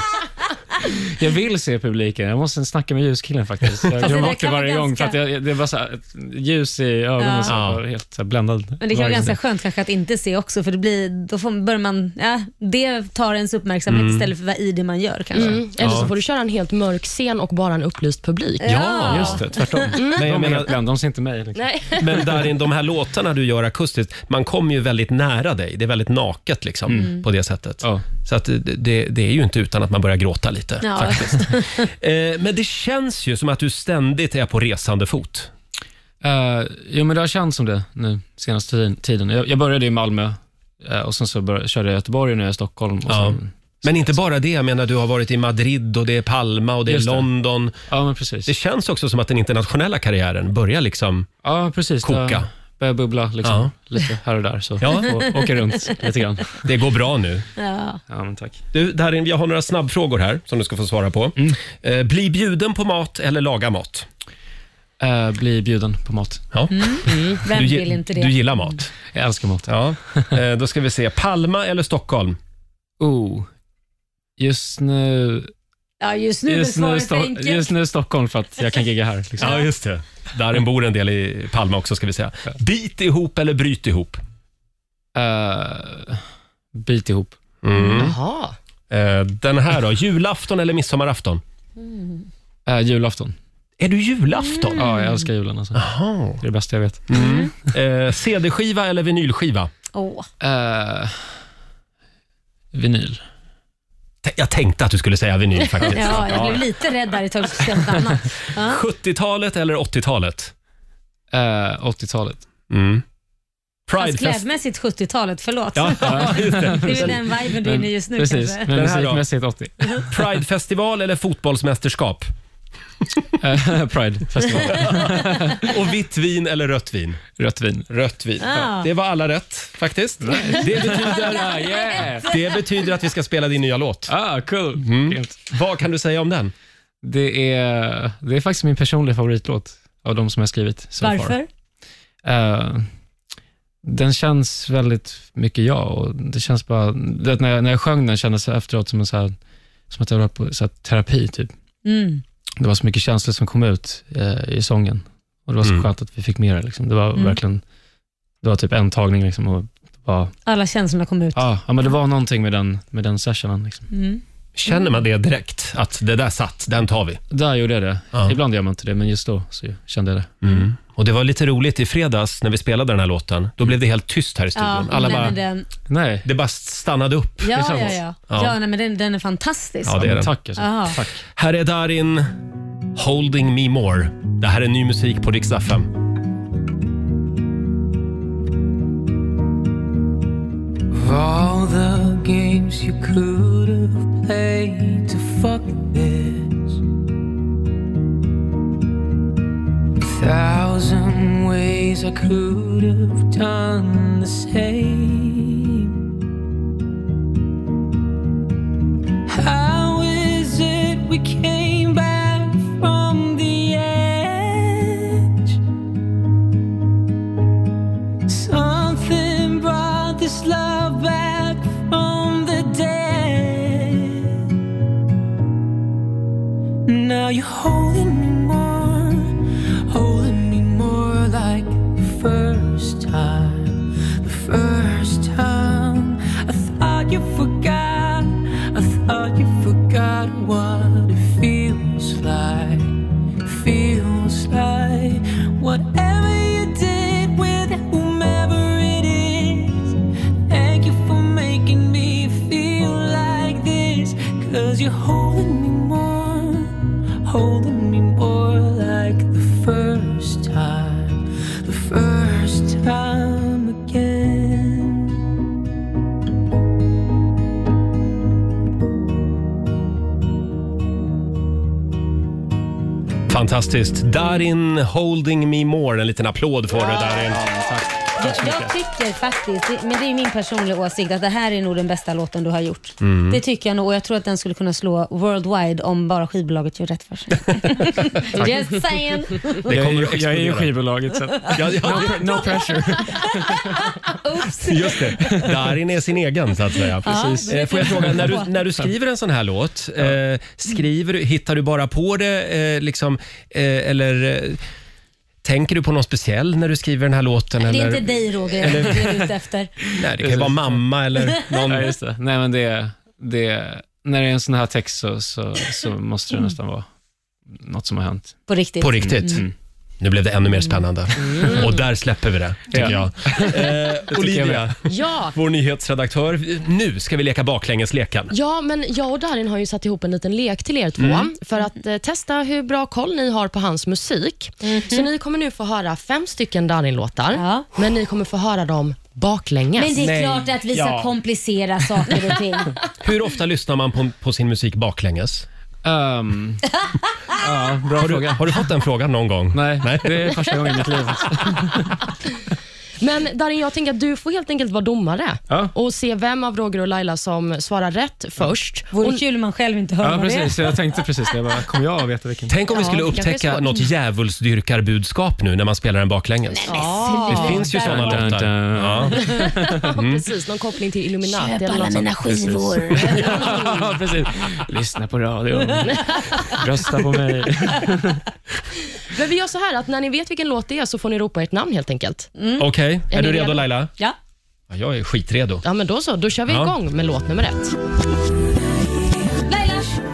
S11: Jag vill se publiken. Jag måste snacka med ljuskillen faktiskt. Jag
S2: Fast det
S11: glömmer
S2: där
S11: bort det
S2: kan vara
S11: varje gång. För
S2: ganska-
S11: att jag, det var så här, ett ljus i ögonen,
S2: Ja.
S11: så jag var helt så här, bländad.
S2: Men det kan vara
S11: varje
S2: ganska
S11: gång.
S2: skönt kanske att inte se också för det blir, då får, börjar man, ja, det tar ens uppmärksamhet
S11: Mm.
S2: istället för vad i det man gör kanske.
S3: Mm. Eller så
S11: Ja.
S3: får du köra en helt mörk scen och bara en upplyst publik.
S1: Ja.
S11: Just det, tvärtom.
S1: Mm.
S11: De,
S1: Men jag
S11: är
S1: menar-
S11: helt bländade, de ser inte mig. Liksom.
S3: Nej.
S1: Men Darin, de här låtarna du gör akustiskt, man kommer ju väldigt nära dig. Det är väldigt naket liksom,
S2: Mm.
S1: på det sättet. Så att det, det, det är ju inte utan att man börjar gråta lite.
S2: Ja.
S1: Faktiskt. Eh, men det känns ju som att du ständigt är på resande fot.
S11: Eh, jo, men det har känts som det nu senaste tiden- tiden. Jag, jag började i Malmö eh, och sen så började, körde jag i Göteborg och nu är jag i Stockholm. Och
S1: Ja.
S11: sen,
S1: Men inte bara det. Jag menar, du har varit i Madrid och det är Palma och det är
S11: Just det.
S1: London.
S11: Ja, men precis.
S1: Det känns också som att den internationella karriären börjar liksom
S11: ja, precis. Det
S1: koka.
S11: börjar bubbla liksom,
S1: Ja.
S11: lite här och där. Så
S1: Ja.
S11: får åka runt lite grann.
S1: Det går bra nu.
S2: Ja.
S11: Ja, men tack.
S1: Du, Darin, jag har några snabbfrågor här som du ska få svara på. Eh, bli bjuden på mat eller laga mat?
S11: Eh, bli bjuden på mat.
S1: Ja.
S2: Mm. Vem
S11: Mm.
S1: du, gi-
S2: vill inte det?
S1: Du gillar mat.
S11: Jag älskar mat.
S1: Ja. Eh, då ska vi se. Palma eller Stockholm?
S11: Oh. Just nu...
S2: ja, just nu är
S11: just, nu
S2: svaret
S11: Sto-
S2: enkelt.
S11: just nu Stockholm för att jag kan gigga här. Liksom.
S1: Ja, just det. Darin bor en del i Palma också, ska vi säga. Bit ihop eller bryt ihop?
S11: Eh, bit ihop.
S1: Mm.
S3: Jaha.
S1: Eh, den här då, julafton eller midsommarafton?
S11: Eh, julafton.
S1: Är du julafton?
S11: Ja, jag älskar julen. Alltså.
S1: Jaha.
S11: Det är det bästa jag vet.
S1: Mm. Eh, CD-skiva eller vinylskiva?
S2: Åh.
S11: Eh, vinyl.
S1: T- Jag tänkte att du skulle säga vinyl faktiskt.
S2: Ja, jag blev lite rädd där ett tag, så helt annat. Ja.
S1: 70-talet eller 80-talet?
S11: Eh, 80-talet.
S1: Mm.
S2: Fast
S1: Pridefest.
S2: klädmässigt 70-talet, förlåt.
S1: Ja, just det.
S2: Det är väl den viben du är inne i just nu
S11: Precis,
S2: kanske.
S11: men
S1: Den här då?
S11: musikmässigt 80.
S1: Pridefestival eller fotbollsmästerskap?
S11: Eh, Pride festival.
S1: Och vitt vin eller rött vin?
S11: Rött vin.
S1: Rött vin.
S2: Ah.
S1: Det var alla rätt faktiskt. Det betyder,
S11: Yeah.
S1: det betyder att vi ska spela din nya låt.
S11: Ah, cool. Grymt.
S1: Vad kan du säga om den?
S11: Det, är, det är faktiskt min personliga favoritlåt av de som jag skrivit. So far.
S2: Varför?
S11: Eh, den känns väldigt mycket jag. Och det känns bara, du vet, när, jag, när jag sjöng den kändes det efteråt som, en så här, som att jag var på så här, terapi. Typ.
S2: Mm.
S11: Det var så mycket känslor som kom ut eh, i sången. Och Det var så
S1: Mm.
S11: skönt att vi fick med det. Liksom. Det var
S2: Mm.
S11: verkligen det var typ en tagning. Liksom, och bara, ah,
S2: Alla känslorna kom ut.
S11: ja, ja, men det var någonting med den, med den sessionen. Liksom.
S2: Mm.
S1: Känner man det direkt? Att det där satt, den tar vi.
S11: Där gjorde jag det.
S1: Ja.
S11: Ibland gör man inte det, men just då så kände jag det.
S1: Och Det var lite roligt i fredags när vi spelade den här låten. Då blev det helt tyst här i
S2: Ja,
S1: studion. Alla
S2: nej,
S1: bara,
S2: men den,
S11: Nej.
S1: det bara stannade upp. liksom.
S2: ja, ja,
S11: tillsammans.
S2: ja.
S1: Ja.
S2: ja nej, men den, den är fantastisk.
S1: Ja, det är den.
S11: Tack. Alltså.
S2: Aha.
S11: Tack.
S1: Här är Darin, Holding Me More. Det här är ny musik på Rix FM.
S10: Of all the games you could have played to fuck this, thousand ways I could have done the same. How is it we came back from the edge? Something brought this love back from the dead. Now you're holding me more, holding me more like the first time. The first time I thought you forgot, I thought you forgot what it feels like feels like whatever you did with whomever it is thank you for making me feel like this cause you're holding me more holding me more like the first time the first time again
S1: Fantastiskt. Darin Holding Me More. En liten applåd får du Darin.
S2: Jag, jag tycker faktiskt, det- men det är min personliga åsikt, att det här är nog den bästa låten du har gjort.
S1: Mm.
S2: Det tycker jag nog och jag tror att den skulle kunna slå worldwide om bara skivbolaget gör rätt för sig. Just saying.
S11: Jag är ju- jag är ju
S1: explodera.
S11: skivbolaget, så att-
S1: Ja, ja,
S11: No, no pressure.
S1: just det. Darin är sin egen så att säga.
S2: Ja, Precis.
S1: Eh, Får jag fråga, när du, när du skriver en sån här låt, eh, skriver, du- hittar du bara på det eh, liksom, eh, eller eh, tänker du på någon speciell när du skriver den här låten?
S2: Det är
S1: eller?
S2: inte dig Roger
S1: Eller-
S2: jag är ute efter.
S1: Nej, det kan ju vara mamma eller någon...
S11: Ja, just det. Nej, men det, det, när det är en sån här text så, så, så måste
S2: Mm.
S11: det nästan vara något som har hänt.
S2: På riktigt.
S1: På riktigt.
S2: Mm.
S1: Nu blev det ännu mer spännande.
S2: Mm.
S1: Och där släpper vi det, tycker
S11: Ja.
S1: jag. Eh, Olivia,
S3: Ja,
S1: vår nyhetsredaktör. Nu ska vi leka baklängesleken.
S3: Ja, men jag och Darin har ju satt ihop en liten lek till er två
S1: Mm.
S3: för att eh, testa hur bra koll ni har på hans musik.
S2: Mhm.
S3: Så ni kommer nu få höra fem stycken Darin-låtar, men ni kommer få höra dem baklänges.
S2: Men det är klart att vi ska
S1: Ja.
S2: komplicera saker och ting.
S1: Hur ofta lyssnar man på, på sin musik baklänges?
S11: Ehm,
S1: bra har, du, har du fått den frågan någon gången?
S11: Nej, det är första gången i mitt liv.
S3: Men Darin, jag tänker att du får helt enkelt vara domare och se vem av Roger och Laila som svarar rätt först.
S2: Vore
S3: Och-
S2: kul om man själv inte hör
S11: Ja,
S2: vad det
S11: precis. Jag tänkte precis det. Jag bara, Kommer jag att veta vilken?
S1: Tänk om vi skulle
S3: Ja, det kanske är
S1: upptäcka
S3: svårt.
S1: något djävulsdyrkarbudskap nu när man spelar den baklänges.
S3: Ja.
S1: Det finns ju såna
S11: Dun, dun,
S1: låtar.
S11: dun.
S1: Ja.
S3: Precis, någon koppling till Illuminati
S2: Mm. Köp
S3: eller
S2: alla
S3: något sånt.
S2: mina skivor.
S11: Ja, precis. Lyssna på radion. Rösta på mig.
S3: Men vi gör så här att när ni vet vilken låt det är så får ni ropa ert namn helt enkelt.
S1: Okej, är,
S3: Är
S1: du
S3: ni
S1: redo
S3: redo?
S1: Laila?
S2: Ja.
S1: Ja, Jag är skitredo.
S3: Ja, men då så. Då kör vi
S1: Ja.
S3: igång med låt nummer ett.
S2: Laila,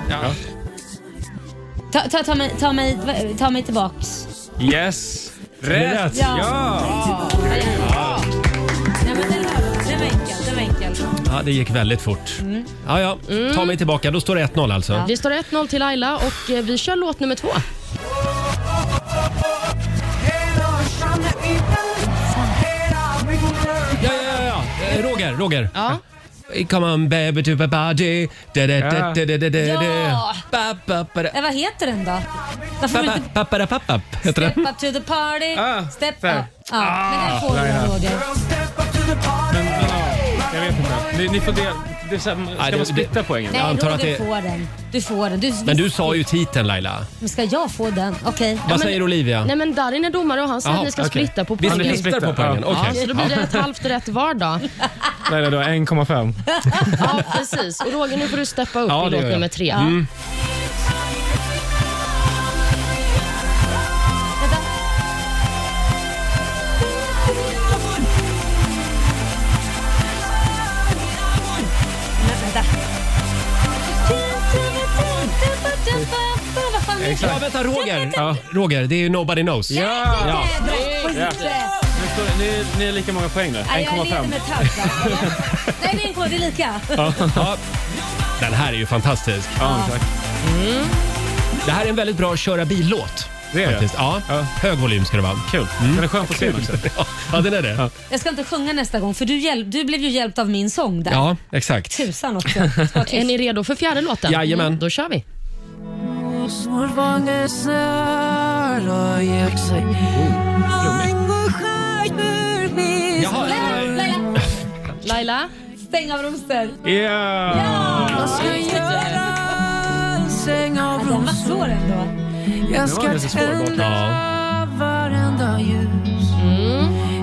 S1: Ja.
S2: ta, ta, ta, mig, ta, mig, ta mig tillbaks.
S11: Yes. Rätt!
S2: Ja.
S11: Ja!
S2: Nej, men den, den var enkel. Den var enkel.
S1: Ja, det gick väldigt fort. Ja, ja. Ta mig tillbaka. Då står det 1-0 alltså.
S3: Det står 1-0 till Laila och eh, vi kör låt nummer två.
S1: Ja, ja, ja. ja. Eh, Roger, Roger. Eh,
S3: Ja.
S1: Come on baby to my body. Da, da, da,
S11: Ja.
S1: da, da, da, da.
S2: Ja.
S1: Ba, ba, ba, da.
S2: Eh, vad heter den då? Varför
S1: Ba,
S2: får du
S1: ba,
S2: inte
S1: ba, ba, da, ba, ba, heter
S2: Step
S1: den.
S2: up to the party,
S11: Ah,
S2: step
S11: där.
S2: up. Ja, men den får du Roger.
S11: Men, ja, jag vet inte. Ni, ni får del, det är så här,
S1: Nej,
S11: ska
S1: det-
S11: man splitta poängen?
S2: Nej,
S1: Jag antar
S2: Roger
S1: att det-
S2: får den. Du får den. Du,
S1: Men du sa ju titeln Laila.
S2: Men Ska jag få den? Okej.
S1: Vad säger Olivia?
S3: Nej men Darin är domare och han säger
S1: Jaha,
S3: att ni ska
S1: okej.
S3: splitta på
S1: Vi
S3: poängen.
S11: splittar.
S1: splittar på poängen.
S11: Ja.
S1: Okej.
S3: Ja, så då blir det ett halvt rätt var då.
S11: Nej, det var 1,5.
S3: Ja, precis. Och Roger, nu får du steppa upp
S11: Ja,
S3: i
S11: det gör
S3: låt
S11: jag.
S3: nummer tre.
S2: Vad fan är det?
S1: Ja, vänta Roger. Roger, det är ju Nobody Knows.
S11: Ja!
S2: Jädra skit.
S11: Nu står- Ni, ni är lika många poäng nu.
S2: Nej, Jag leder
S11: 1,5.
S2: med Tarzan. Nej, det är en kod, det är lika.
S1: Ja. Den här är ju fantastisk. Mm.
S11: Ja, tack.
S1: Det här är en väldigt bra köra bil-låt.
S11: Det är det.
S1: Faktiskt. Ja.
S11: Ja.
S1: Hög volym ska det vara. Mm.
S11: Kul. Den är skön på scen också.
S1: Ja, den är det.
S2: Jag ska inte sjunga nästa gång för du, hjälp, du blev ju hjälpt av min sång där.
S1: Ja, exakt.
S2: Tusan också. Var
S3: Är
S2: tyst.
S3: ni redo för fjärde låten? Mm,
S1: Jajamän.
S3: Då kör vi.
S10: Oh,
S1: Jaha, eh,
S2: Laila,
S3: Laila?
S2: stäng av rosor.
S11: Ja!
S2: Ja, Den var svår ändå.
S11: Det var en ganska svår låt.
S1: Ja.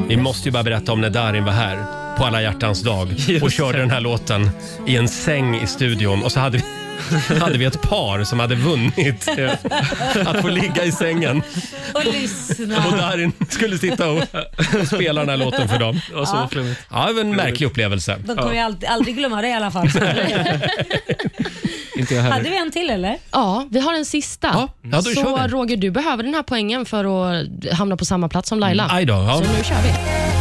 S1: Vi måste ju bara berätta om när Darin var här på alla hjärtans dag och körde den här låten i en säng i studion och så hade vi hade vi ett par som hade vunnit att få ligga i sängen
S2: Och lyssna.
S1: och Darin skulle sitta och spela den här låten för dem.
S11: Det var så flummigt.
S1: Ja, det var en märklig upplevelse.
S2: De kommer ju aldrig, aldrig glömma det i alla fall.
S11: Inte jag
S2: Hade
S11: heller.
S2: vi en till eller?
S3: Ja, vi har en sista.
S1: Ja, ja, då
S3: så
S1: kör vi.
S3: Roger, du behöver den här poängen för att hamna på samma plats som Laila.
S1: Aj då, ja.
S3: Så nu kör vi.
S1: ja Roger,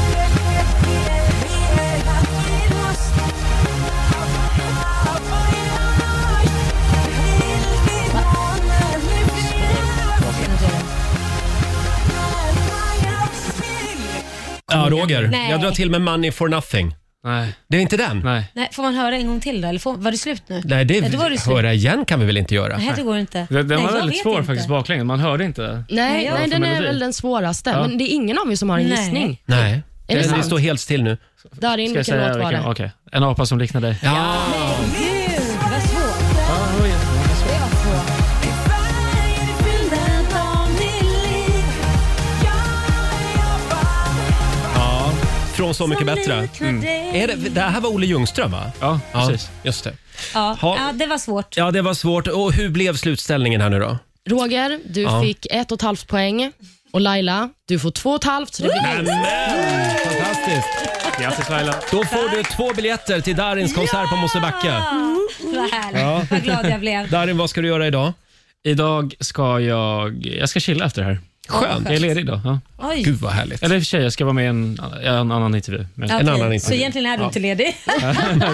S2: Nej.
S1: jag drar till med Money for nothing.
S11: Nej.
S1: Det är inte den?
S11: Nej.
S2: Nej, får man höra en gång till då? Eller får, var det slut nu?
S1: Nej, det,
S2: då var det slut.
S1: höra igen kan vi väl inte göra?
S2: Nej, det går inte.
S11: Den, den
S2: Nej,
S11: var
S2: jag
S11: väldigt
S2: vet
S11: svår
S2: inte.
S11: faktiskt baklänges. Man hörde inte.
S3: Nej,
S2: Ja.
S3: nej den är
S11: Melodi.
S3: väl den svåraste.
S11: Ja.
S3: Men det är ingen av er som har en
S2: Nej.
S3: gissning.
S1: Nej.
S3: Är det
S1: Det, det
S3: sant?
S1: står helt still nu.
S3: Darin,
S11: Ska jag
S3: vilken
S11: säga
S3: låt var
S11: vilken?
S3: det?
S11: Okej. En apa som liknar dig.
S1: Ja.
S2: Gud, vad svårt. Det var svårt.
S1: Från Så mycket bättre. Är det, det här var Olle Ljungström, va?
S11: Ja, precis.
S1: just det.
S2: Ja,
S1: Ha.
S2: ja, det var svårt.
S1: Ja, det var svårt. Och hur blev slutställningen här nu då?
S3: Roger, du
S1: Ja.
S3: fick ett och ett halvt poäng. Och Laila, du får två och ett halvt. Så det blir
S1: Amen. Fantastiskt.
S11: Grattis Laila.
S1: Då får du två biljetter till Darins konsert på Mosebacke.
S2: Ah, vad härligt.
S1: Ja.
S2: Vad glad jag blev.
S1: Darin, vad ska du göra idag?
S11: Idag ska jag... Jag ska chilla efter det här.
S1: Skönt.
S11: Jag är ledig idag. Ja.
S2: Oj.
S1: Gud vad härligt.
S11: Eller i och för sig, jag ska vara med i en, en annan intervju. Men,
S2: Okej,
S1: en annan intervju.
S2: Så egentligen är du inte ledig?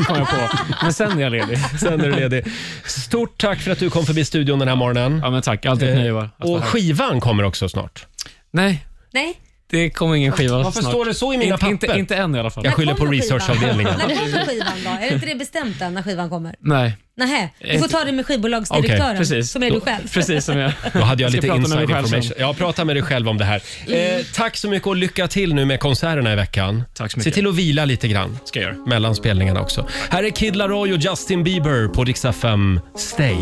S11: kom jag på. men sen är jag ledig.
S1: Sen är du ledig. Stort tack för att du kom förbi studion den här morgonen. Eh,
S11: Ja, men tack. Alltid ett nöje var. att vara
S1: Och
S11: Alltså, här.
S1: skivan kommer också snart.
S11: Nej,
S2: Nej.
S11: det kommer ingen skiva
S1: Varför
S11: snart.
S1: står det så i mina
S11: inte, inte,
S1: papper?
S11: inte än i alla fall.
S1: Jag skyller på
S2: kommer skivan?
S1: researchavdelningen.
S2: När kommer skivan då? Är det inte det bestämt än när skivan kommer?
S11: Nej,
S2: Nej, du får ta det med skivbolagsdirektören
S1: Okej,
S11: precis.
S2: som är du
S11: Då-
S2: själv.
S11: Precis som jag.
S1: Då hade jag
S11: ska
S1: lite
S11: prata med mig
S1: inside
S11: själv sen. Mm.
S1: information. Ja, prata med dig själv om det här. Eh, tack så mycket och lycka till nu med konserterna i veckan.
S11: Tack så mycket.
S1: Se till att vila lite grann.
S11: Ska jag göra.
S1: Mellan spelningarna också. Här är Kid Laroi och Justin Bieber på Rix FM. Stay.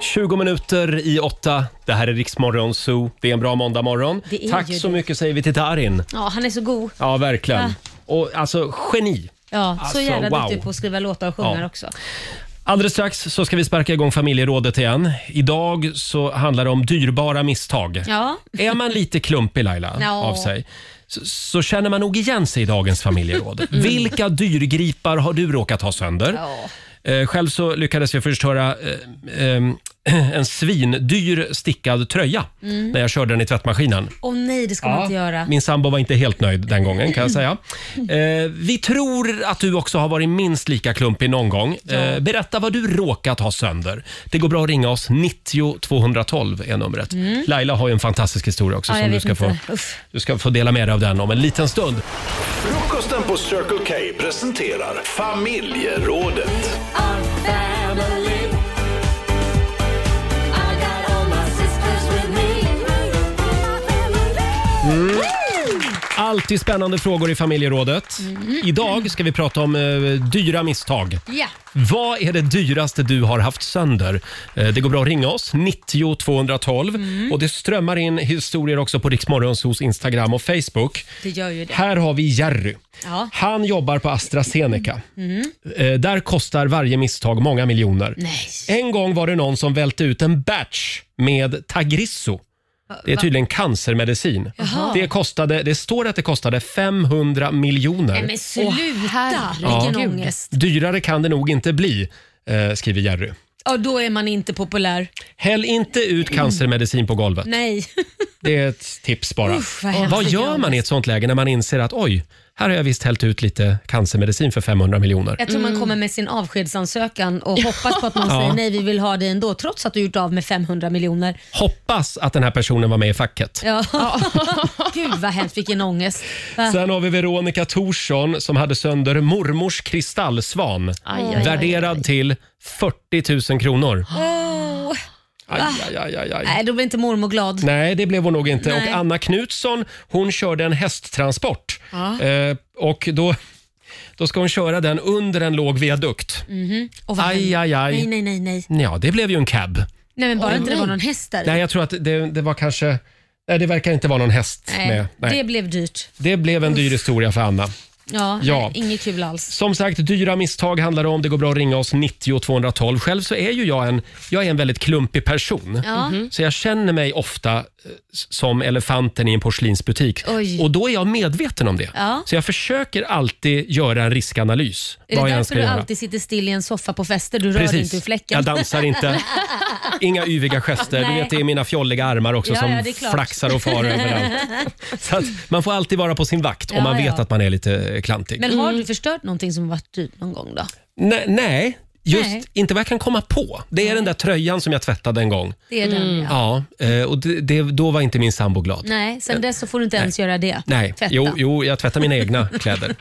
S1: 20 minuter i åtta. Det här är Riksmorgon Zoo. Det är en bra måndagmorgon.
S2: Det är
S1: Tack
S2: ju
S1: så
S2: det.
S1: mycket säger vi till Darin.
S2: Ja, han är så god.
S1: Ja, verkligen.
S2: Ja.
S1: Och alltså, geni.
S2: Ja,
S1: Alltså,
S2: så jävla
S1: wow.
S2: duktig typ på att skriva låtar och sjunga
S1: Ja.
S2: också.
S1: Alldeles strax så ska vi sparka igång familjerådet igen. Idag så handlar det om dyrbara misstag.
S2: Ja.
S1: Är man lite klumpig Laila
S2: Ja.
S1: av sig så, så känner man nog igen sig i dagens familjeråd. Vilka dyrgripar har du råkat ha sönder?
S2: Mm. Ja.
S1: Eh, själv så lyckades jag först höra eh, ehm, en svindyr stickad tröja
S2: Mm.
S1: när jag körde den i tvättmaskinen.
S2: Åh nej, det ska man inte göra.
S1: Min sambo var inte helt nöjd den gången kan jag säga. Eh, vi tror att du också har varit minst lika klumpig någon gång. Eh, berätta vad du råkat ha sönder. Det går bra att ringa oss. 90 212 är numret. Laila har ju en fantastisk historia också
S2: Mm. Ja, jag
S1: som du
S2: vet
S1: ska, få,
S2: inte. Uff.
S1: du ska få dela med dig av den om en liten stund.
S4: Frukosten på Circle K presenterar familjerådet.
S1: Alltid spännande frågor i familjerådet.
S2: Mm.
S1: Idag ska vi prata om eh, dyra misstag.
S2: Ja.
S1: Vad är det dyraste du har haft sönder? Eh, Det går bra att ringa oss, 90 212. Och det strömmar in historier också på Riksmorgonsos Instagram och Facebook.
S2: Det gör ju det.
S1: Här har vi Jerry.
S2: Ja.
S1: Han jobbar på AstraZeneca. Eh, Där kostar varje misstag många miljoner.
S2: Nej.
S1: En gång var det någon som välte ut en batch med Tagrisso. Det är tydligen cancermedicin. Det, kostade, det står att det kostade 500 miljoner.
S2: Nej men sluta!
S3: herregud.
S2: Vilken ångest.
S1: Dyrare kan det nog inte bli, eh, skriver Jerry.
S2: Ja, då är man inte populär.
S1: Häll inte ut cancermedicin på golvet.
S2: Nej.
S1: Det är ett tips bara.
S2: Usch, vad hemskt.
S1: vad gör man i ett sånt läge när man inser att oj, här har jag visst hällt ut lite cancermedicin för 500 miljoner?
S2: Jag tror man kommer med sin avskedsansökan och hoppas på att någon
S1: Mm. Ja.
S2: säger nej, vi vill ha dig ändå trots att du gjort av med 500 miljoner.
S1: Hoppas att den här personen var med i facket.
S2: Ja. Gud vad hemskt, vilken ångest. Va?
S1: Sen har vi Veronica Thorsson som hade sönder mormors kristallsvan.
S3: aj, aj,
S1: värderad till 40 000 kronor.
S2: Åh.
S1: Aj, aj, aj, aj, aj.
S2: Nej, då blir inte mormor glad.
S1: Nej, det blev hon nog inte.
S2: Nej.
S1: Och Anna Knutsson, hon körde en hästtransport. Eh, och då, då ska hon köra den under en låg viadukt.
S2: Och vad
S1: Aj,
S2: händer?
S1: aj, aj.
S2: Mm. Nej, nej, nej, nej.
S1: Ja, det blev ju en cab.
S2: Nej, men bara
S3: Oj,
S2: inte det
S3: nej.
S2: var någon häst där.
S1: Nej, jag tror att det, det var kanske... Nej, det verkar inte vara någon häst
S2: Nej,
S1: med. Nej.
S2: Det blev dyrt.
S1: Det... blev en dyr historia för Anna.
S2: Ja,
S1: Ja.
S2: Nej, inget kul alls.
S1: Som sagt, dyra misstag handlar det om. Det går bra att ringa oss 90 212. Själv så är ju jag en, jag är en väldigt klumpig person.
S2: Ja.
S1: Så jag känner mig ofta eh, s- som elefanten i en porslinsbutik.
S2: Oj.
S1: Och då är jag medveten om det.
S2: Ja.
S1: Så jag försöker alltid göra en riskanalys.
S2: Är det
S1: vad jag än
S2: därför
S1: ska
S2: du
S1: göra.
S2: alltid sitter still i en soffa på fester? Du rör dig
S1: Precis.
S2: inte ur fläcken.
S1: Jag dansar inte. Inga yviga gester. Du
S2: Nej.
S1: vet, det är mina fjolliga armar också
S2: Ja,
S1: som
S2: ja, det är klart.
S1: flaxar och far överallt. Så att man får alltid vara på sin vakt om
S2: Ja,
S1: man vet
S2: ja.
S1: att man är lite eh, klantig.
S2: Men har du förstört någonting som varit dyrt någon gång då?
S1: Ne- nej, Just
S2: Nej.
S1: inte vad jag kan komma på. Det är den där tröjan som jag tvättade en gång.
S2: Det är den, Mm.
S1: ja. eh, och det, det, då var inte min sambo glad.
S2: Nej, sen dess så får du inte ens göra det.
S1: Nej,
S2: Tvätta.
S1: jo, jo, jag tvättar mina egna kläder.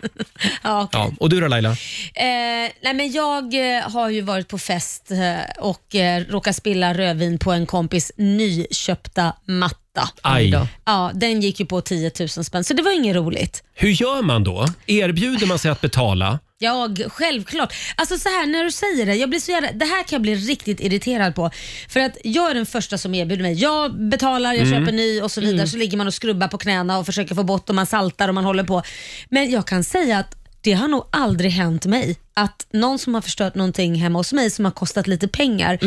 S2: Ja, okej.
S1: Ja. Och du då Laila?
S2: Eh, nej men jag eh, har ju varit på fest eh, och eh, råkat spilla rödvin på en kompis nyköpta matta.
S1: Aj. då.
S2: Ja, den gick ju på 10 000 spänn, så det var inget roligt.
S1: Hur gör man då? Erbjuder man sig att betala?
S2: Mm. Jag, självklart. Alltså så här, när du säger det, jag blir så jävla, det här kan jag bli riktigt irriterad på. För att jag är den första som erbjuder mig. Jag betalar, jag
S9: Mm.
S2: köper ny och så vidare.
S9: Mm.
S2: Så ligger man och skrubbar på knäna och försöker få bort och man saltar och man håller på. Men jag kan säga att det har nog aldrig hänt mig att någon som har förstört någonting hemma hos mig som har kostat lite pengar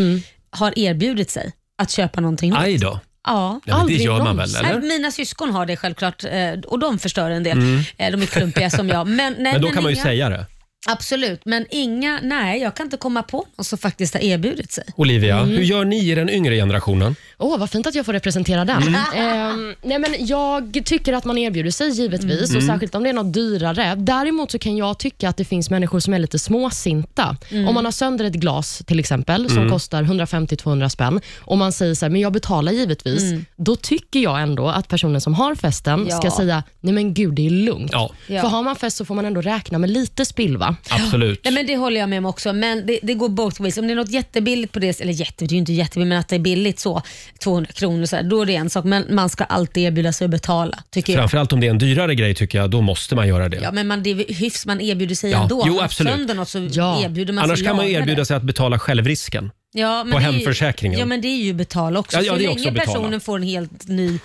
S2: har erbjudit sig att köpa någonting nytt.
S1: Mm. Aj då.
S2: Ja.
S1: Ja, men det gör man väl, eller?
S2: Nej, Mina syskon har det självklart eh, och de förstör en del.
S1: Mm.
S2: Eh, De är klumpiga som jag. Men, nej,
S1: Men då kan man ju
S2: inga-
S1: säga det.
S2: Absolut, men inga, nej jag kan inte komma på någon som faktiskt har erbjudit sig.
S1: Olivia,
S2: Mm.
S1: hur gör ni i den yngre generationen?
S3: Åh, vad fint att jag får representera den.
S1: Mm.
S3: Ehm, nej, men jag tycker att man erbjuder sig givetvis,
S1: Mm.
S3: och särskilt om det är något dyrare. Däremot så kan jag tycka att det finns människor som är lite småsinta.
S9: Mm.
S3: Om man har sönder ett glas till exempel, som
S9: Mm.
S3: kostar 150-200 spänn, och man säger så här, men jag betalar givetvis.
S9: Mm.
S3: Då tycker jag ändå att personen som har festen
S9: Ja.
S3: ska säga, nej men gud det är lugnt.
S2: Ja.
S3: För har man fest så får man ändå räkna med lite spill va?
S1: Absolut.
S2: Nej, men det håller jag med om också, men det, det går both ways. Om det är något jättebilligt på det, eller jätte, det är ju inte jättebilligt, men att det är billigt så, 200 kronor, så här, då är det en sak. Men man ska alltid erbjuda sig att betala, tycker jag.
S1: Framförallt om det är en dyrare grej tycker jag, då måste man göra det.
S2: Ja, men man, det är hyfs, man erbjuder sig
S1: Ja.
S2: ändå.
S1: Jo,
S2: Har man
S1: absolut.
S2: sönder något så erbjuder man
S1: Annars
S2: sig
S1: kan man ju
S2: lagade.
S1: erbjuda sig att betala självrisken.
S2: Ja, men
S1: på
S2: det är ju-
S1: hemförsäkringen.
S2: Ja, men det är ju betala också.
S1: Ja, ja,
S2: så
S1: det är
S2: länge
S1: också betala.
S2: personen får en helt ny,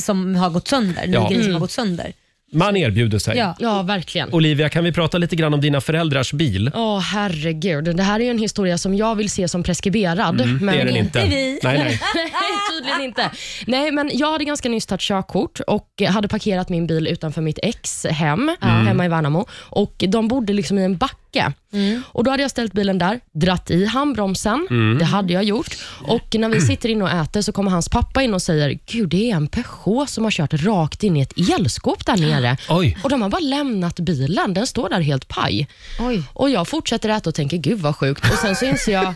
S2: som har gått sönder, ny
S1: Ja.
S2: grej som
S1: Mm.
S2: har gått sönder.
S1: Man erbjuder sig.
S2: Ja.
S3: ja, verkligen.
S1: Olivia, kan vi prata lite grann om dina föräldrars bil?
S3: Åh herregud, det här är ju en historia som jag vill se som preskriberad.
S1: Mm, det är den inte. Inte vi. Nej, nej.
S3: Tydligen inte. Nej, men jag hade ganska nyss tagit körkort och hade parkerat min bil utanför mitt ex hem, hemma i Värnamo. Och de bodde liksom i en backe. Och Då hade jag ställt bilen där, dratt i handbromsen.
S9: Mm.
S3: Det hade jag gjort. Och När vi sitter inne och äter så kommer hans pappa in och säger, Gud, det är en Peugeot som har kört rakt in i ett elskåp där nere.
S1: Oj.
S3: Och De har bara lämnat bilen. Den står där helt paj. Och Jag fortsätter äta och tänker, gud vad sjukt. Och Sen så inser jag,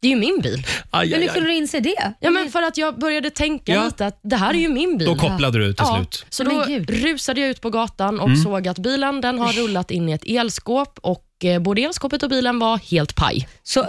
S3: det är ju min bil.
S1: Aj, aj, aj.
S2: du inse det?
S3: Ja, men för att jag började tänka
S1: Ja.
S3: lite att det här är ju min bil.
S1: Då kopplade du till
S3: ja.
S1: slut.
S3: Så
S1: Nej,
S3: då
S1: men
S3: rusade jag ut på gatan och
S1: Mm.
S3: såg att bilen den har rullat in i ett elskåp och eh, både elskåpet och bilen var helt paj.
S2: Så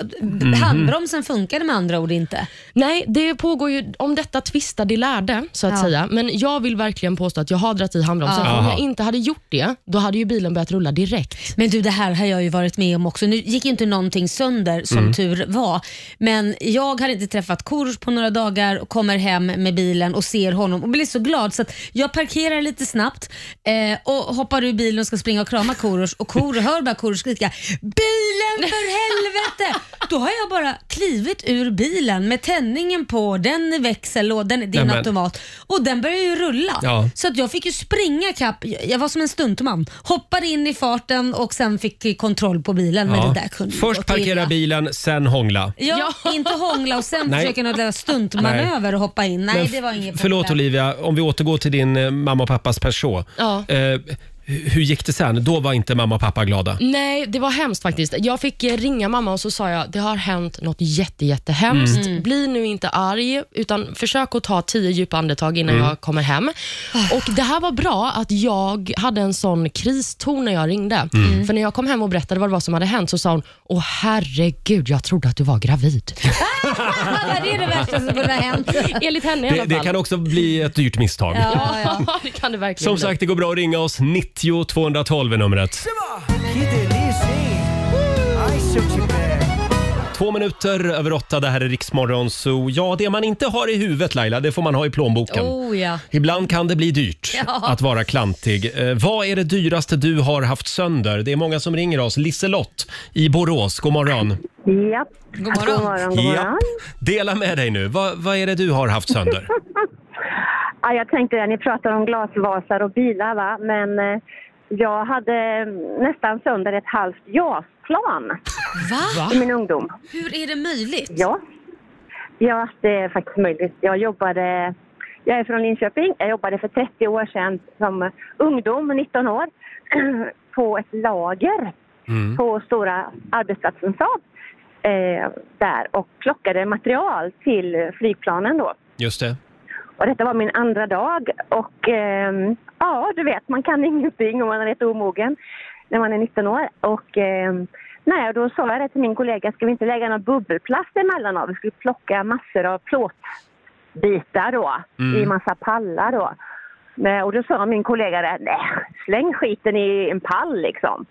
S2: handbromsen funkade med andra ord inte?
S3: Nej, det pågår ju om detta tvistar de lärde, så att
S2: Ja.
S3: säga. Men jag vill verkligen påstå att jag har dragit i handbromsen.
S2: Ja.
S3: För om jag
S2: Aha.
S3: inte hade gjort det, då hade ju bilen börjat rulla direkt.
S2: Men du, det här har jag ju varit med om också. Nu gick ju inte någonting sönder som
S3: Mm.
S2: tur var, men jag hade inte träffat Korosh på några dagar och kommer hem med bilen och ser honom och blir så glad så att jag parkerar lite snabbt eh, och hoppar ur bilen och ska springa och krama Korosh och Kor hör bara Korosh skrika “Bilen för helvete!” Då har jag bara klivit ur bilen med tändningen på, den i växel och den, det är en
S9: Nämen.
S2: automat och den börjar ju rulla.
S9: Ja.
S2: Så att jag fick ju springa kapp. Jag var som en stuntman. Hoppade in i farten och sen fick kontroll på bilen. Men det där kunde ju
S1: Först
S2: gått
S1: parkera
S2: illa.
S1: bilen, sen hångla.
S2: Ja, inte hångla och sen
S1: Nej.
S2: försöka någon där stuntmanöver och hoppa in. Nej,
S1: Men
S2: det var inget
S1: Förlåt
S2: problem.
S1: Olivia, om vi återgår till din eh, mamma och pappas Peugeot.
S3: Ja.
S1: Eh, hur gick det sen? Då var inte mamma och pappa glada.
S3: Nej, det var hemskt faktiskt. Jag fick eh, ringa mamma och så sa jag, det har hänt något jätte, jättehemskt.
S9: Mm. Mm.
S3: Bli nu inte arg, utan försök att ta tio djupa andetag innan
S9: Mm.
S3: jag kommer hem.
S2: Ah.
S3: Och Det här var bra att jag hade en sån kriston när jag ringde.
S9: Mm.
S3: För när jag kom hem och berättade vad det var som hade hänt så sa hon, åh herregud, jag trodde att du var gravid.
S2: det är det värsta som kunde ha hänt.
S3: Enligt henne i alla
S1: Det,
S3: fall.
S1: det kan också bli ett dyrt misstag.
S3: Ja, ja. det kan det verkligen
S1: Som
S3: bli.
S1: sagt, det går bra att ringa oss. 90 212 är numret. Två minuter över åtta, det här är Riksmorgon Zoo. Ja, det man inte har i huvudet Laila, det får man ha i plånboken.
S2: Oh, ja.
S1: Ibland kan det bli dyrt
S2: Ja.
S1: att vara klantig. Eh, vad är det dyraste du har haft sönder? Det är många som ringer oss. Liselott i Borås, god morgon.
S9: Japp. God morgon. God
S1: Japp. Dela med dig nu. Vad, vad är det du har haft sönder?
S9: Ja, jag tänkte det, ni pratar om glasvasar och bilar va, men eh, jag hade eh, nästan sönder ett halvt JAS-plan
S2: Va?
S9: i min ungdom.
S2: Hur är det möjligt?
S9: Ja. ja, det är faktiskt möjligt. Jag jobbade, jag är från Linköping, jag jobbade för 30 år sedan som ungdom, 19 år,
S1: Mm,
S9: på ett lager på stora arbetsplatsen Saab. eh, där och plockade material till flygplanen då.
S1: Just det.
S9: Och detta var min andra dag och ehm, ja, du vet, man kan ingenting och man är rätt omogen när man är 19 år. Och ehm, nej, och då sa jag det till min kollega, ska vi inte lägga någon bubbelplast emellan då? Vi skulle plocka massor av plåtbitar då,
S12: Mm.
S9: i massa pallar då. Men, och då sa min kollega det, nej, släng skiten i en pall liksom.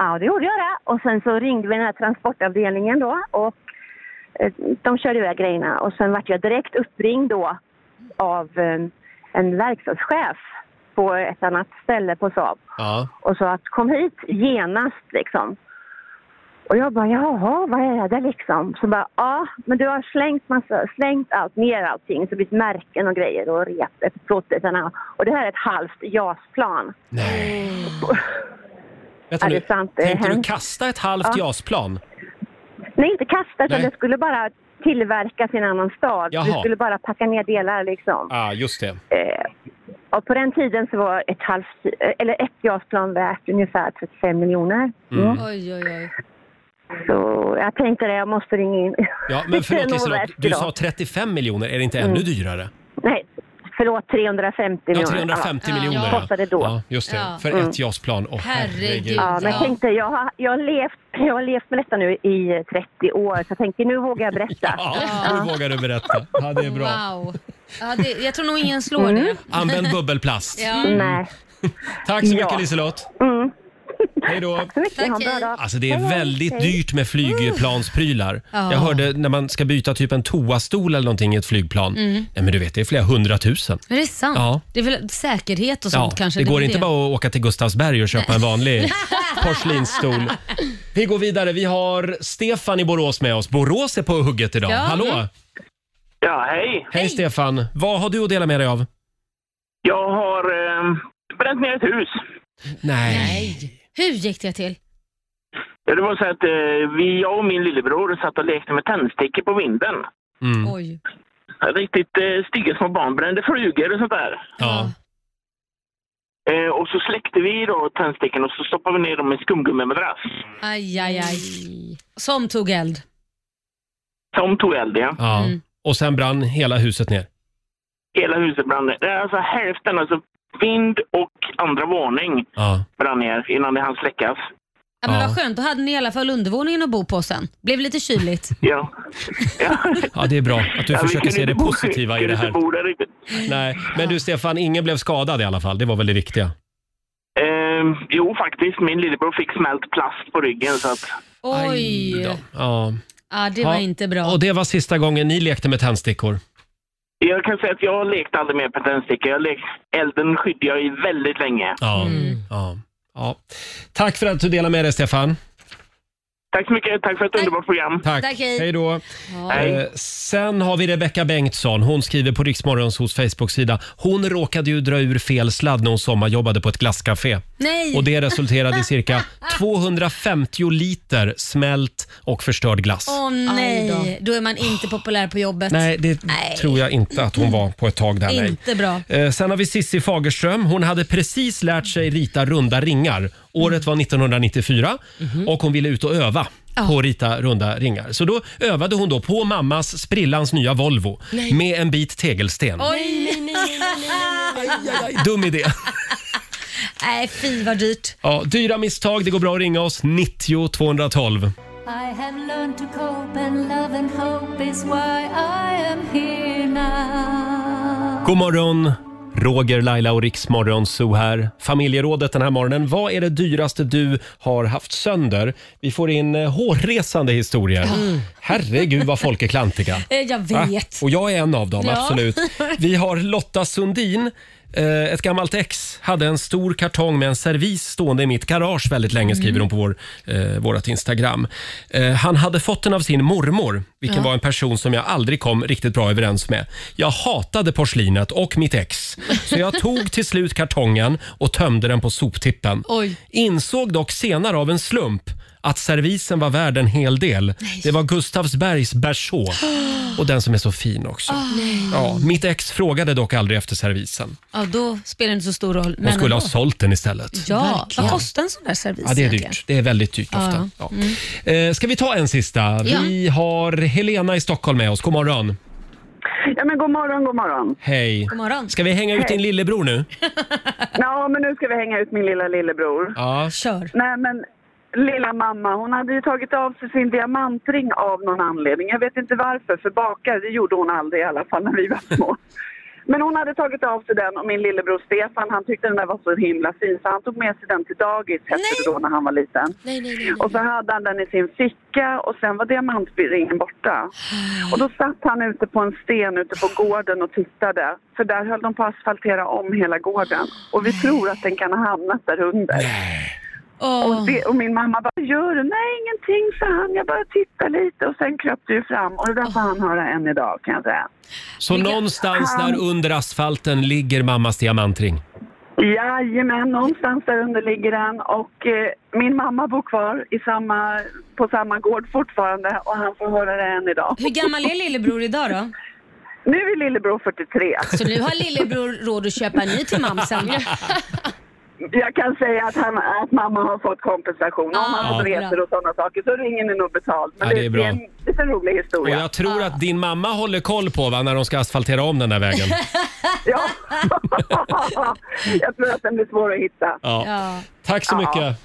S9: Ja, det gjorde jag det. Och sen så ringde vi den här transportavdelningen då och eh, de körde iväg grejerna och sen vart jag direkt uppringd då av eh, en verkstadschef på ett annat ställe på Saab
S1: Ja.
S9: och sa att kom hit genast liksom. Och jag bara jaha, vad är det liksom? Så bara ja, men du har slängt massa, slängt allt, ner allting, så det blivit märken och grejer och rep efter plåtbitarna. Och det här är ett halvt JAS-plan.
S1: Vänta
S9: Ja, det
S1: nu,
S9: Oh. är sant, det är
S1: tänkte du
S9: hemskt.
S1: kasta ett halvt
S9: Ja.
S1: JAS-plan?
S9: Nej, inte kasta, utan
S1: Nej.
S9: det skulle bara tillverkas i en annan stad.
S1: Jaha.
S9: Det skulle bara packa ner delar liksom.
S1: Ja, ah, just det.
S9: Eh, Och på den tiden så var ett, halvt, eh, eller ett JAS-plan värt ungefär 35 miljoner.
S1: Mm.
S2: Oj, oj, oj.
S9: Så jag tänkte det, jag måste ringa in.
S1: Ja,
S9: Det är
S1: men förlåt
S9: nog
S1: Liselott,
S9: värt
S1: du
S9: idag.
S1: sa 35 miljoner, är det inte
S9: Mm.
S1: ännu dyrare?
S9: Nej, förlåt 350
S1: Ja,
S9: miljoner.
S1: 350 miljoner.
S9: Ja, kostade då.
S1: Ja, just det.
S9: Ja.
S1: För
S9: Mm.
S1: ett JAS-plan. Åh, herregud.
S9: Ja, men jag
S1: Ja.
S9: tänkte, jag har, jag, har levt, jag har levt med detta nu i 30 år, så jag tänkte nu vågar jag berätta.
S1: Ja, nu vågar du berätta. Ja, det är bra.
S2: Wow. Ja, det, jag tror nog ingen slår
S9: Mm.
S2: det.
S1: Använd bubbelplast.
S2: Ja.
S1: Mm.
S2: Nej.
S1: Tack så mycket
S2: Ja.
S1: Liselott. Hej då. Tack
S9: Mm. så mycket, ha en bra dag.
S1: Alltså det är
S9: Hej, hej.
S1: väldigt dyrt med flygplansprylar.
S2: Ja.
S1: Jag hörde när man ska byta typ en toastol eller någonting i ett flygplan.
S2: Mm.
S1: Nej men du vet, det är flera hundratusen.
S2: Men det är sant.
S1: Ja.
S2: Det är väl säkerhet och sånt kanske.
S1: det
S2: är
S1: går
S2: väl
S1: inte bara att åka till Gustavsberg och köpa en vanlig porslinsstol. Vi går vidare. Vi har Stefan i Borås med oss. Borås är på hugget idag.
S13: Ja.
S1: Hallå!
S13: Mm. Ja, hej.
S1: Hej Stefan! Vad har du att dela med dig av?
S13: Jag har eh, bränt ner ett hus.
S1: Nej.
S2: Hur gick det till?
S13: Det var så att eh, vi, jag och min lillebror satt och lekte med tändstickor på vinden.
S1: Mm.
S2: Oj.
S13: Riktigt eh, stygga små barn, brände flugor och sånt där.
S1: Ja.
S13: Eh, och så släckte vi då tändstickorna och så stoppade vi ner dem i skumgummimadrass.
S2: Aj, aj, aj. Som tog eld.
S13: Som tog eld, ja.
S1: Ja. Och sen brann hela huset ner.
S13: Hela huset brann ner. Det är Alltså hälften, alltså vind och andra våning
S1: Ja.
S13: brann ner innan det hann släckas.
S2: Ja, men
S13: Ja.
S2: Vad skönt, då hade ni i alla fall undervåningen att bo på sen. Blev lite kyligt.
S13: Ja.
S1: Ja, det är bra att du
S13: Ja, vi
S1: försöker
S13: kunde
S1: se det
S13: inte bo-
S1: positiva i
S13: kunde inte
S1: det här.
S13: bo där riktigt.
S1: Nej, men du Stefan, ingen blev skadad i alla fall. Det var väl det viktiga.
S13: Eh, jo, faktiskt. Min lillebror fick smält plast på ryggen. Så att,
S2: Oj. Ja,
S1: Ja.
S2: det
S1: Ja,
S2: var inte bra.
S1: Och det var sista gången ni lekte med tändstickor.
S13: jag kan säga att jag lekte aldrig mer med tändstickor. Jag lek, elden skydde jag i väldigt länge.
S1: Ja.
S2: Mm.
S1: Ja. ja. Tack för att du delade med dig Stefan.
S13: Tack så mycket. Tack för ett underbart program.
S1: Tack.
S2: Tack, hej.
S1: hej då.
S13: Hej.
S1: Eh, sen har vi Rebecka Bengtsson. Hon skriver på Riksmorgons hos Facebook-sida. Hon råkade ju dra ur fel sladd när hon sommarjobbade på ett glasscafé.
S2: Nej.
S1: Och det resulterade i cirka 250 liter smält och förstörd glass.
S2: Åh nej, då. är man inte populär på jobbet.
S1: Nej, det tror jag inte att hon var på ett tag där. nej.
S2: Inte bra.
S1: Eh, Sen har vi Sissi Fagerström. Hon hade precis lärt sig rita runda ringar. Året var 1994
S2: Mhm.
S1: och hon ville ut och öva på att rita runda ringar. Så då övade hon då på mammas, sprillans nya Volvo
S2: Nej.
S1: med en bit tegelsten.
S2: Oj, nej, nej, nej, nej, nej, nej, nej.
S1: Dum idé.
S2: Nej, fy vad dyrt.
S1: Ja, dyra misstag. Det går bra att ringa oss. 90 212.
S14: I have learned to cope and love and hope is why I am here now.
S1: God morgon. Roger, Laila och Riksmorgon Zoo här. Familjerådet den här morgonen. Vad är det dyraste du har haft sönder? Vi får in eh, hårresande historier.
S2: Mm.
S1: Herregud vad folk är klantiga.
S2: Eh, Jag
S1: Va?
S2: vet.
S1: Och jag är en av dem,
S2: Ja.
S1: absolut. Vi har Lotta Sundin. Eh, Ett gammalt ex hade en stor kartong med en servis stående i mitt garage väldigt
S2: Mm.
S1: länge, skriver hon på vår, eh, vårt Instagram. Eh, han hade fått den av sin mormor, vilken
S15: Ja.
S1: var en person som jag aldrig kom riktigt bra överens med. Jag hatade porslinet och mitt ex, så jag tog till slut kartongen och tömde den på soptippen. Insåg dock senare av en slump att servisen var värd en hel del. Det var Gustavsbergs berså Och den som är så fin också.
S2: Ah, nej.
S1: Ja, mitt ex frågade dock aldrig efter servisen.
S2: Ja, då spelar det inte så stor roll.
S1: Hon skulle ha
S2: ändå.
S1: sålt den istället.
S2: Ja, vad kostar en sån där servis
S1: Ja, det är
S2: egentligen?
S1: dyrt. Det är väldigt dyrt
S2: Ja, Mm.
S1: ofta.
S2: ja.
S1: Ja. Eh, Ska vi ta en sista? Vi har Helena i Stockholm med oss. God morgon.
S12: Ja, men god morgon, god morgon.
S1: Hej.
S12: God morgon.
S1: Ska vi hänga ut
S12: Hej.
S1: din lillebror nu?
S12: Ja, men nu ska vi hänga ut min lilla lillebror.
S1: Ja.
S2: Kör.
S12: Nej, men lilla mamma, hon hade ju tagit av sig sin diamantring av någon anledning. Jag vet inte varför, för bakar, det gjorde hon aldrig i alla fall när vi var små. Men hon hade tagit av sig den och min lillebror Stefan han tyckte den där var så himla fin så han tog med sig den till dagis hette det då när han var liten.
S2: Nej, nej, nej.
S12: Och så hade han den i sin ficka och sen var diamantringen borta. Och då satt han ute på en sten ute på gården och tittade. För där höll de på att asfaltera om hela gården. Och vi tror att den kan ha hamnat där under. Och, det, och min mamma bara, vad gör du? Nej, ingenting, sa han. Jag bara tittar lite. Och sen kröp det ju fram. Och det där får han höra än idag, kan jag säga.
S1: Så någonstans där
S12: Han-
S1: under asfalten ligger mammas diamantring.
S12: Jajamän, någonstans där under ligger den och eh, min mamma bor kvar i samma, på samma gård fortfarande och han får höra det än idag.
S2: Hur gammal är lillebror idag då?
S12: Nu är lillebror 43.
S2: Så nu har lillebror råd att köpa en ny till mamsen.
S12: Jag kan säga att, han, att mamma har fått kompensation. Om han har fått
S1: Ja.
S12: resor och sådana saker så ringer det nog betalt. Men
S1: Ja, det är
S12: det,
S1: bra.
S12: är en lite rolig
S1: Och
S12: historia.
S1: jag tror att din mamma håller koll på va, när de ska asfaltera om den där vägen.
S12: Ja. jag tror att den blir svår att hitta.
S1: Ja. Tack så
S12: Ja.
S1: mycket.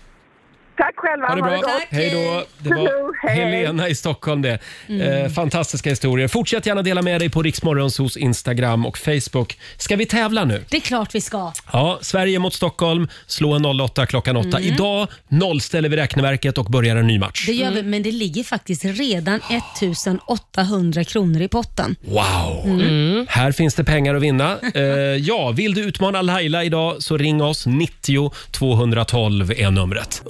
S12: Tack själva.
S1: Ha det bra.
S12: gott.
S1: Hej då. Det var
S12: Hej.
S1: Helena i Stockholm det.
S12: Mm.
S1: Eh, fantastiska historier. Fortsätt gärna dela med dig på Riksmorgonsos Instagram och Facebook. Ska vi tävla nu?
S2: Det är klart vi ska.
S1: Ja, Sverige mot Stockholm. Slå en 08 klockan 8.
S2: Mm.
S1: Idag nollställer vi räkneverket och börjar en ny match.
S2: Det gör vi, men det ligger faktiskt redan 1800 kronor i potten.
S1: Wow!
S2: Mm. Mm.
S1: Här finns det pengar att vinna. Eh, ja, vill du utmana Laila idag så ring oss. 90 212 är numret.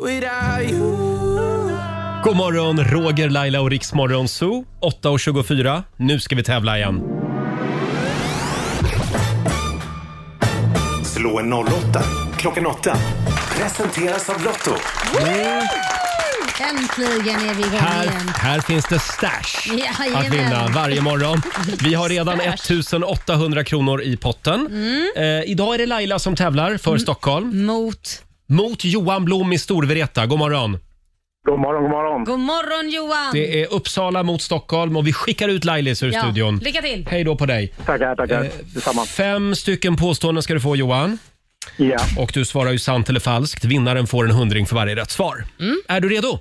S1: God morgon, Roger, Laila och Riksmorgon Zoo. 8.24. Nu ska vi tävla igen.
S4: Slå en 08 klockan 8. Presenteras av Lotto.
S2: Äntligen är vi igång
S1: Här,
S2: igen.
S1: här finns det stash
S2: Jajamän.
S1: att vinna varje morgon. Vi har redan 1800 kronor i potten.
S2: Mm.
S1: Eh, idag är det Laila som tävlar för Stockholm.
S2: Mot?
S1: Mot Johan Blom i Storvreta. God morgon. God morgon, god morgon.
S2: God morgon Johan!
S1: Det är Uppsala mot Stockholm och vi skickar ut Lailis ur
S2: Ja,
S1: studion.
S2: lycka till.
S1: Hej då på dig.
S5: Tackar, tackar.
S1: Eh,
S5: Detsamma.
S1: Fem stycken påståenden ska du få Johan.
S5: Ja.
S1: Och du svarar ju sant eller falskt. Vinnaren får en hundring för varje rätt svar. Är du redo?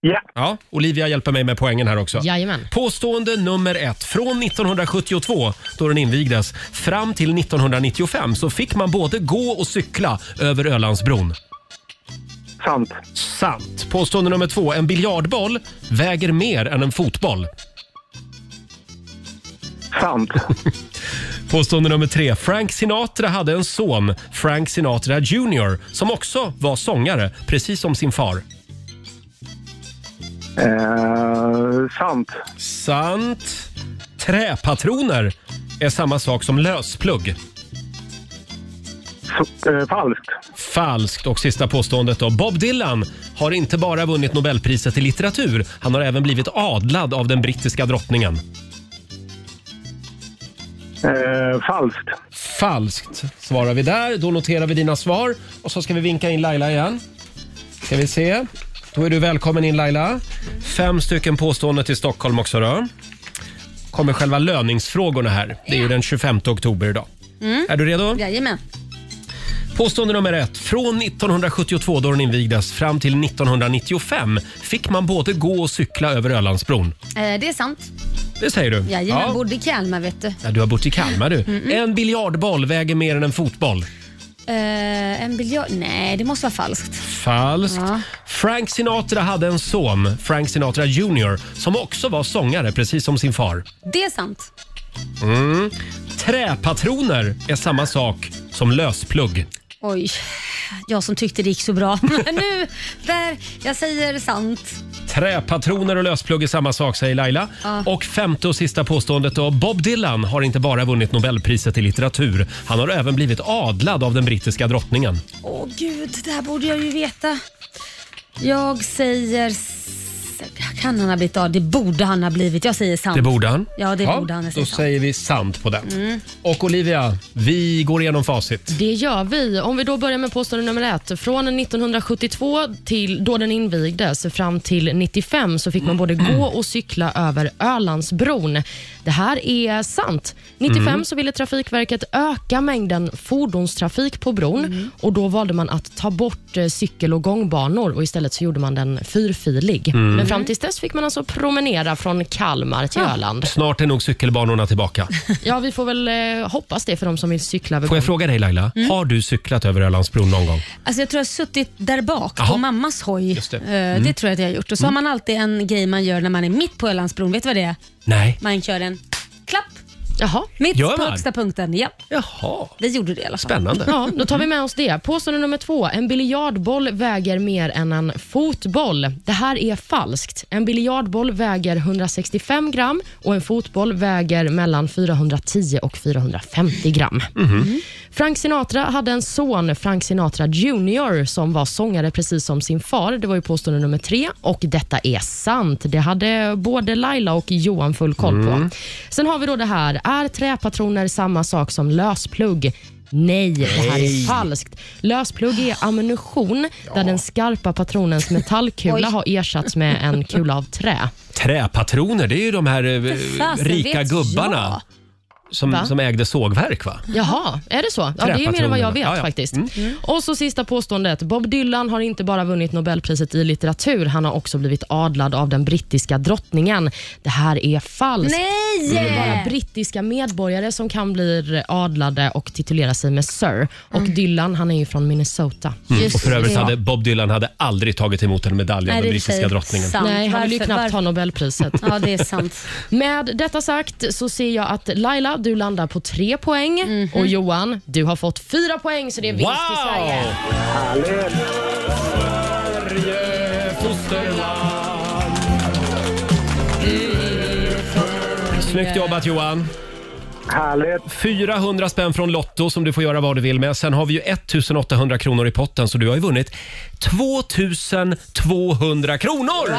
S5: Ja.
S1: ja. Olivia hjälper mig med poängen här också.
S3: Ah. Jajamän.
S1: Påstående nummer ett. Från 1972, då den invigdes, fram till 1995 så fick man både gå och cykla över Ölandsbron.
S5: Sant.
S1: Sant. Påstående nummer två. En biljardboll väger mer än en fotboll.
S5: Sant.
S1: Påstående nummer tre. Frank Sinatra hade en son, Frank Sinatra Jr, som också var sångare, precis som sin far.
S5: Eh, sant.
S1: Sant. Träpatroner är samma sak som lösplugg.
S5: falskt.
S1: Falskt. Och sista påståendet då. Bob Dylan har inte bara vunnit Nobelpriset i litteratur, han har även blivit adlad av den brittiska drottningen.
S5: Eh, falskt.
S1: Falskt svarar vi där. Då noterar vi dina svar och så ska vi vinka in Laila igen. Ska vi se. Då är du välkommen in Laila. Fem stycken påståenden till Stockholm också då. Kommer själva löningsfrågorna här. Det är ju den 25 oktober idag.
S2: Mm.
S1: Är du redo?
S2: Jajamän.
S1: Påstående nummer ett. Från 1972 då den invigdes fram till 1995 fick man både gå och cykla över Ölandsbron.
S2: Eh, det är sant.
S1: Det säger du?
S2: Jajamän, bodde i Kalmar vet du.
S1: ja, du har bott i Kalmar du.
S2: Mm-mm.
S1: En biljardboll väger mer än en fotboll.
S2: Eh, en biljard... Nej, det måste vara falskt.
S1: Falskt.
S2: Ja.
S1: Frank Sinatra hade en son, Frank Sinatra Jr, som också var sångare precis som sin far.
S2: Det är sant.
S1: Mm. Träpatroner är samma sak som lösplugg.
S2: Oj, jag som tyckte det gick så bra. Men nu, där, jag säger sant.
S1: Träpatroner och lösplugg är samma sak, säger Laila.
S2: Ja.
S1: Och femte och sista påståendet då. Bob Dylan har inte bara vunnit Nobelpriset i litteratur. Han har även blivit adlad av den brittiska drottningen.
S2: Åh gud, det här borde jag ju veta. Jag säger... s- kan han ha blivit av? Det borde han ha blivit. Jag säger sant.
S1: Det borde han.
S2: Ja, det borde han. Jag
S1: Då
S2: säger sant.
S1: säger vi sant på den.
S3: Mm.
S1: Och Olivia, vi går igenom facit.
S3: Det gör vi. Om vi då börjar med påstående nummer ett. Från 1972, till, då den invigdes, fram till 95 så fick man både
S1: Mm.
S3: gå och cykla över Ölandsbron. Det här är sant. 95
S15: Mm.
S3: så ville Trafikverket öka mängden fordonstrafik på bron
S1: Mm.
S3: och då valde man att ta bort eh, cykel och gångbanor och istället så gjorde man den fyrfilig.
S1: Mm. Ah.
S3: Men fram tills dess fick man alltså promenera från Kalmar till Öland.
S1: Snart är nog cykelbanorna tillbaka.
S3: Ja, vi får väl eh, hoppas det för de som vill cykla över
S1: Får jag
S3: bron.
S1: fråga dig Laila,
S2: Mm.
S1: har du cyklat över Ölandsbron någon gång?
S2: Alltså jag tror jag har suttit där bak
S1: Jaha.
S2: på mammas hoj.
S1: Just det.
S2: Eh,
S1: Mm.
S2: det tror jag att jag har gjort. Och så har man alltid en grej man gör när man är mitt på Ölandsbron. Vet du vad det är?
S1: Nej.
S2: Man kör en klapp.
S3: Jaha.
S2: Mitt
S3: Gör
S2: på
S3: man?
S2: högsta punkten. Ja.
S1: Jaha.
S2: Vi gjorde det i alla fall.
S3: Ja, då tar vi med oss det. Påstående nummer två. En biljardboll väger mer än en fotboll. Det här är falskt. En biljardboll väger 165 gram och en fotboll väger mellan 410 och 450 gram. Frank Sinatra hade en son, Frank Sinatra Jr, som var sångare precis som sin far. Det var ju påstående nummer tre och detta är sant. Det hade både Laila och Johan full koll på.
S15: Mm.
S3: Sen har vi då det här. Är träpatroner samma sak som lösplugg? Nej, det här
S15: Nej.
S3: är falskt. Lösplugg är ammunition där den skarpa patronens metallkula
S1: Oj.
S3: har ersatts med en kula av trä.
S1: Träpatroner, det är ju de här eh,
S3: fasen,
S1: rika
S3: vet
S1: gubbarna som,
S3: Va?
S1: som ägde sågverk va?
S3: Jaha, är det så? Ja, det är ju mer än vad jag
S1: Träpatronerna.
S3: vet
S1: Ja, Mm. ja.
S3: faktiskt. Mm. Och så sista påståendet. Bob Dylan har inte bara vunnit Nobelpriset i litteratur, han har också blivit adlad av den brittiska drottningen. Det här är falskt.
S2: Nej!
S3: Det är bara brittiska medborgare som kan bli adlade och titulera sig med Sir. Och
S2: Mm.
S3: Dylan, han är ju från Minnesota.
S1: Mm. Och för övrigt hade Bob Dylan hade aldrig tagit emot en medalj av
S3: Nej,
S1: den
S3: det
S1: brittiska
S3: säger
S1: drottningen.
S3: sant. Nej, han vill ju
S2: Varför-
S3: knappt ha
S2: varför-
S3: Nobelpriset.
S2: Ja, det är sant.
S3: Med detta sagt så ser jag att Laila, du landar på tre poäng
S2: Mhm.
S3: och Johan, du har fått fyra poäng så det är vinst i Sverige.
S1: Snyggt jobbat Johan! Härligt. 400 spänn från Lotto som du får göra vad du vill med. Sen har vi ju 1800 kronor i potten så du har ju vunnit 2200 kronor!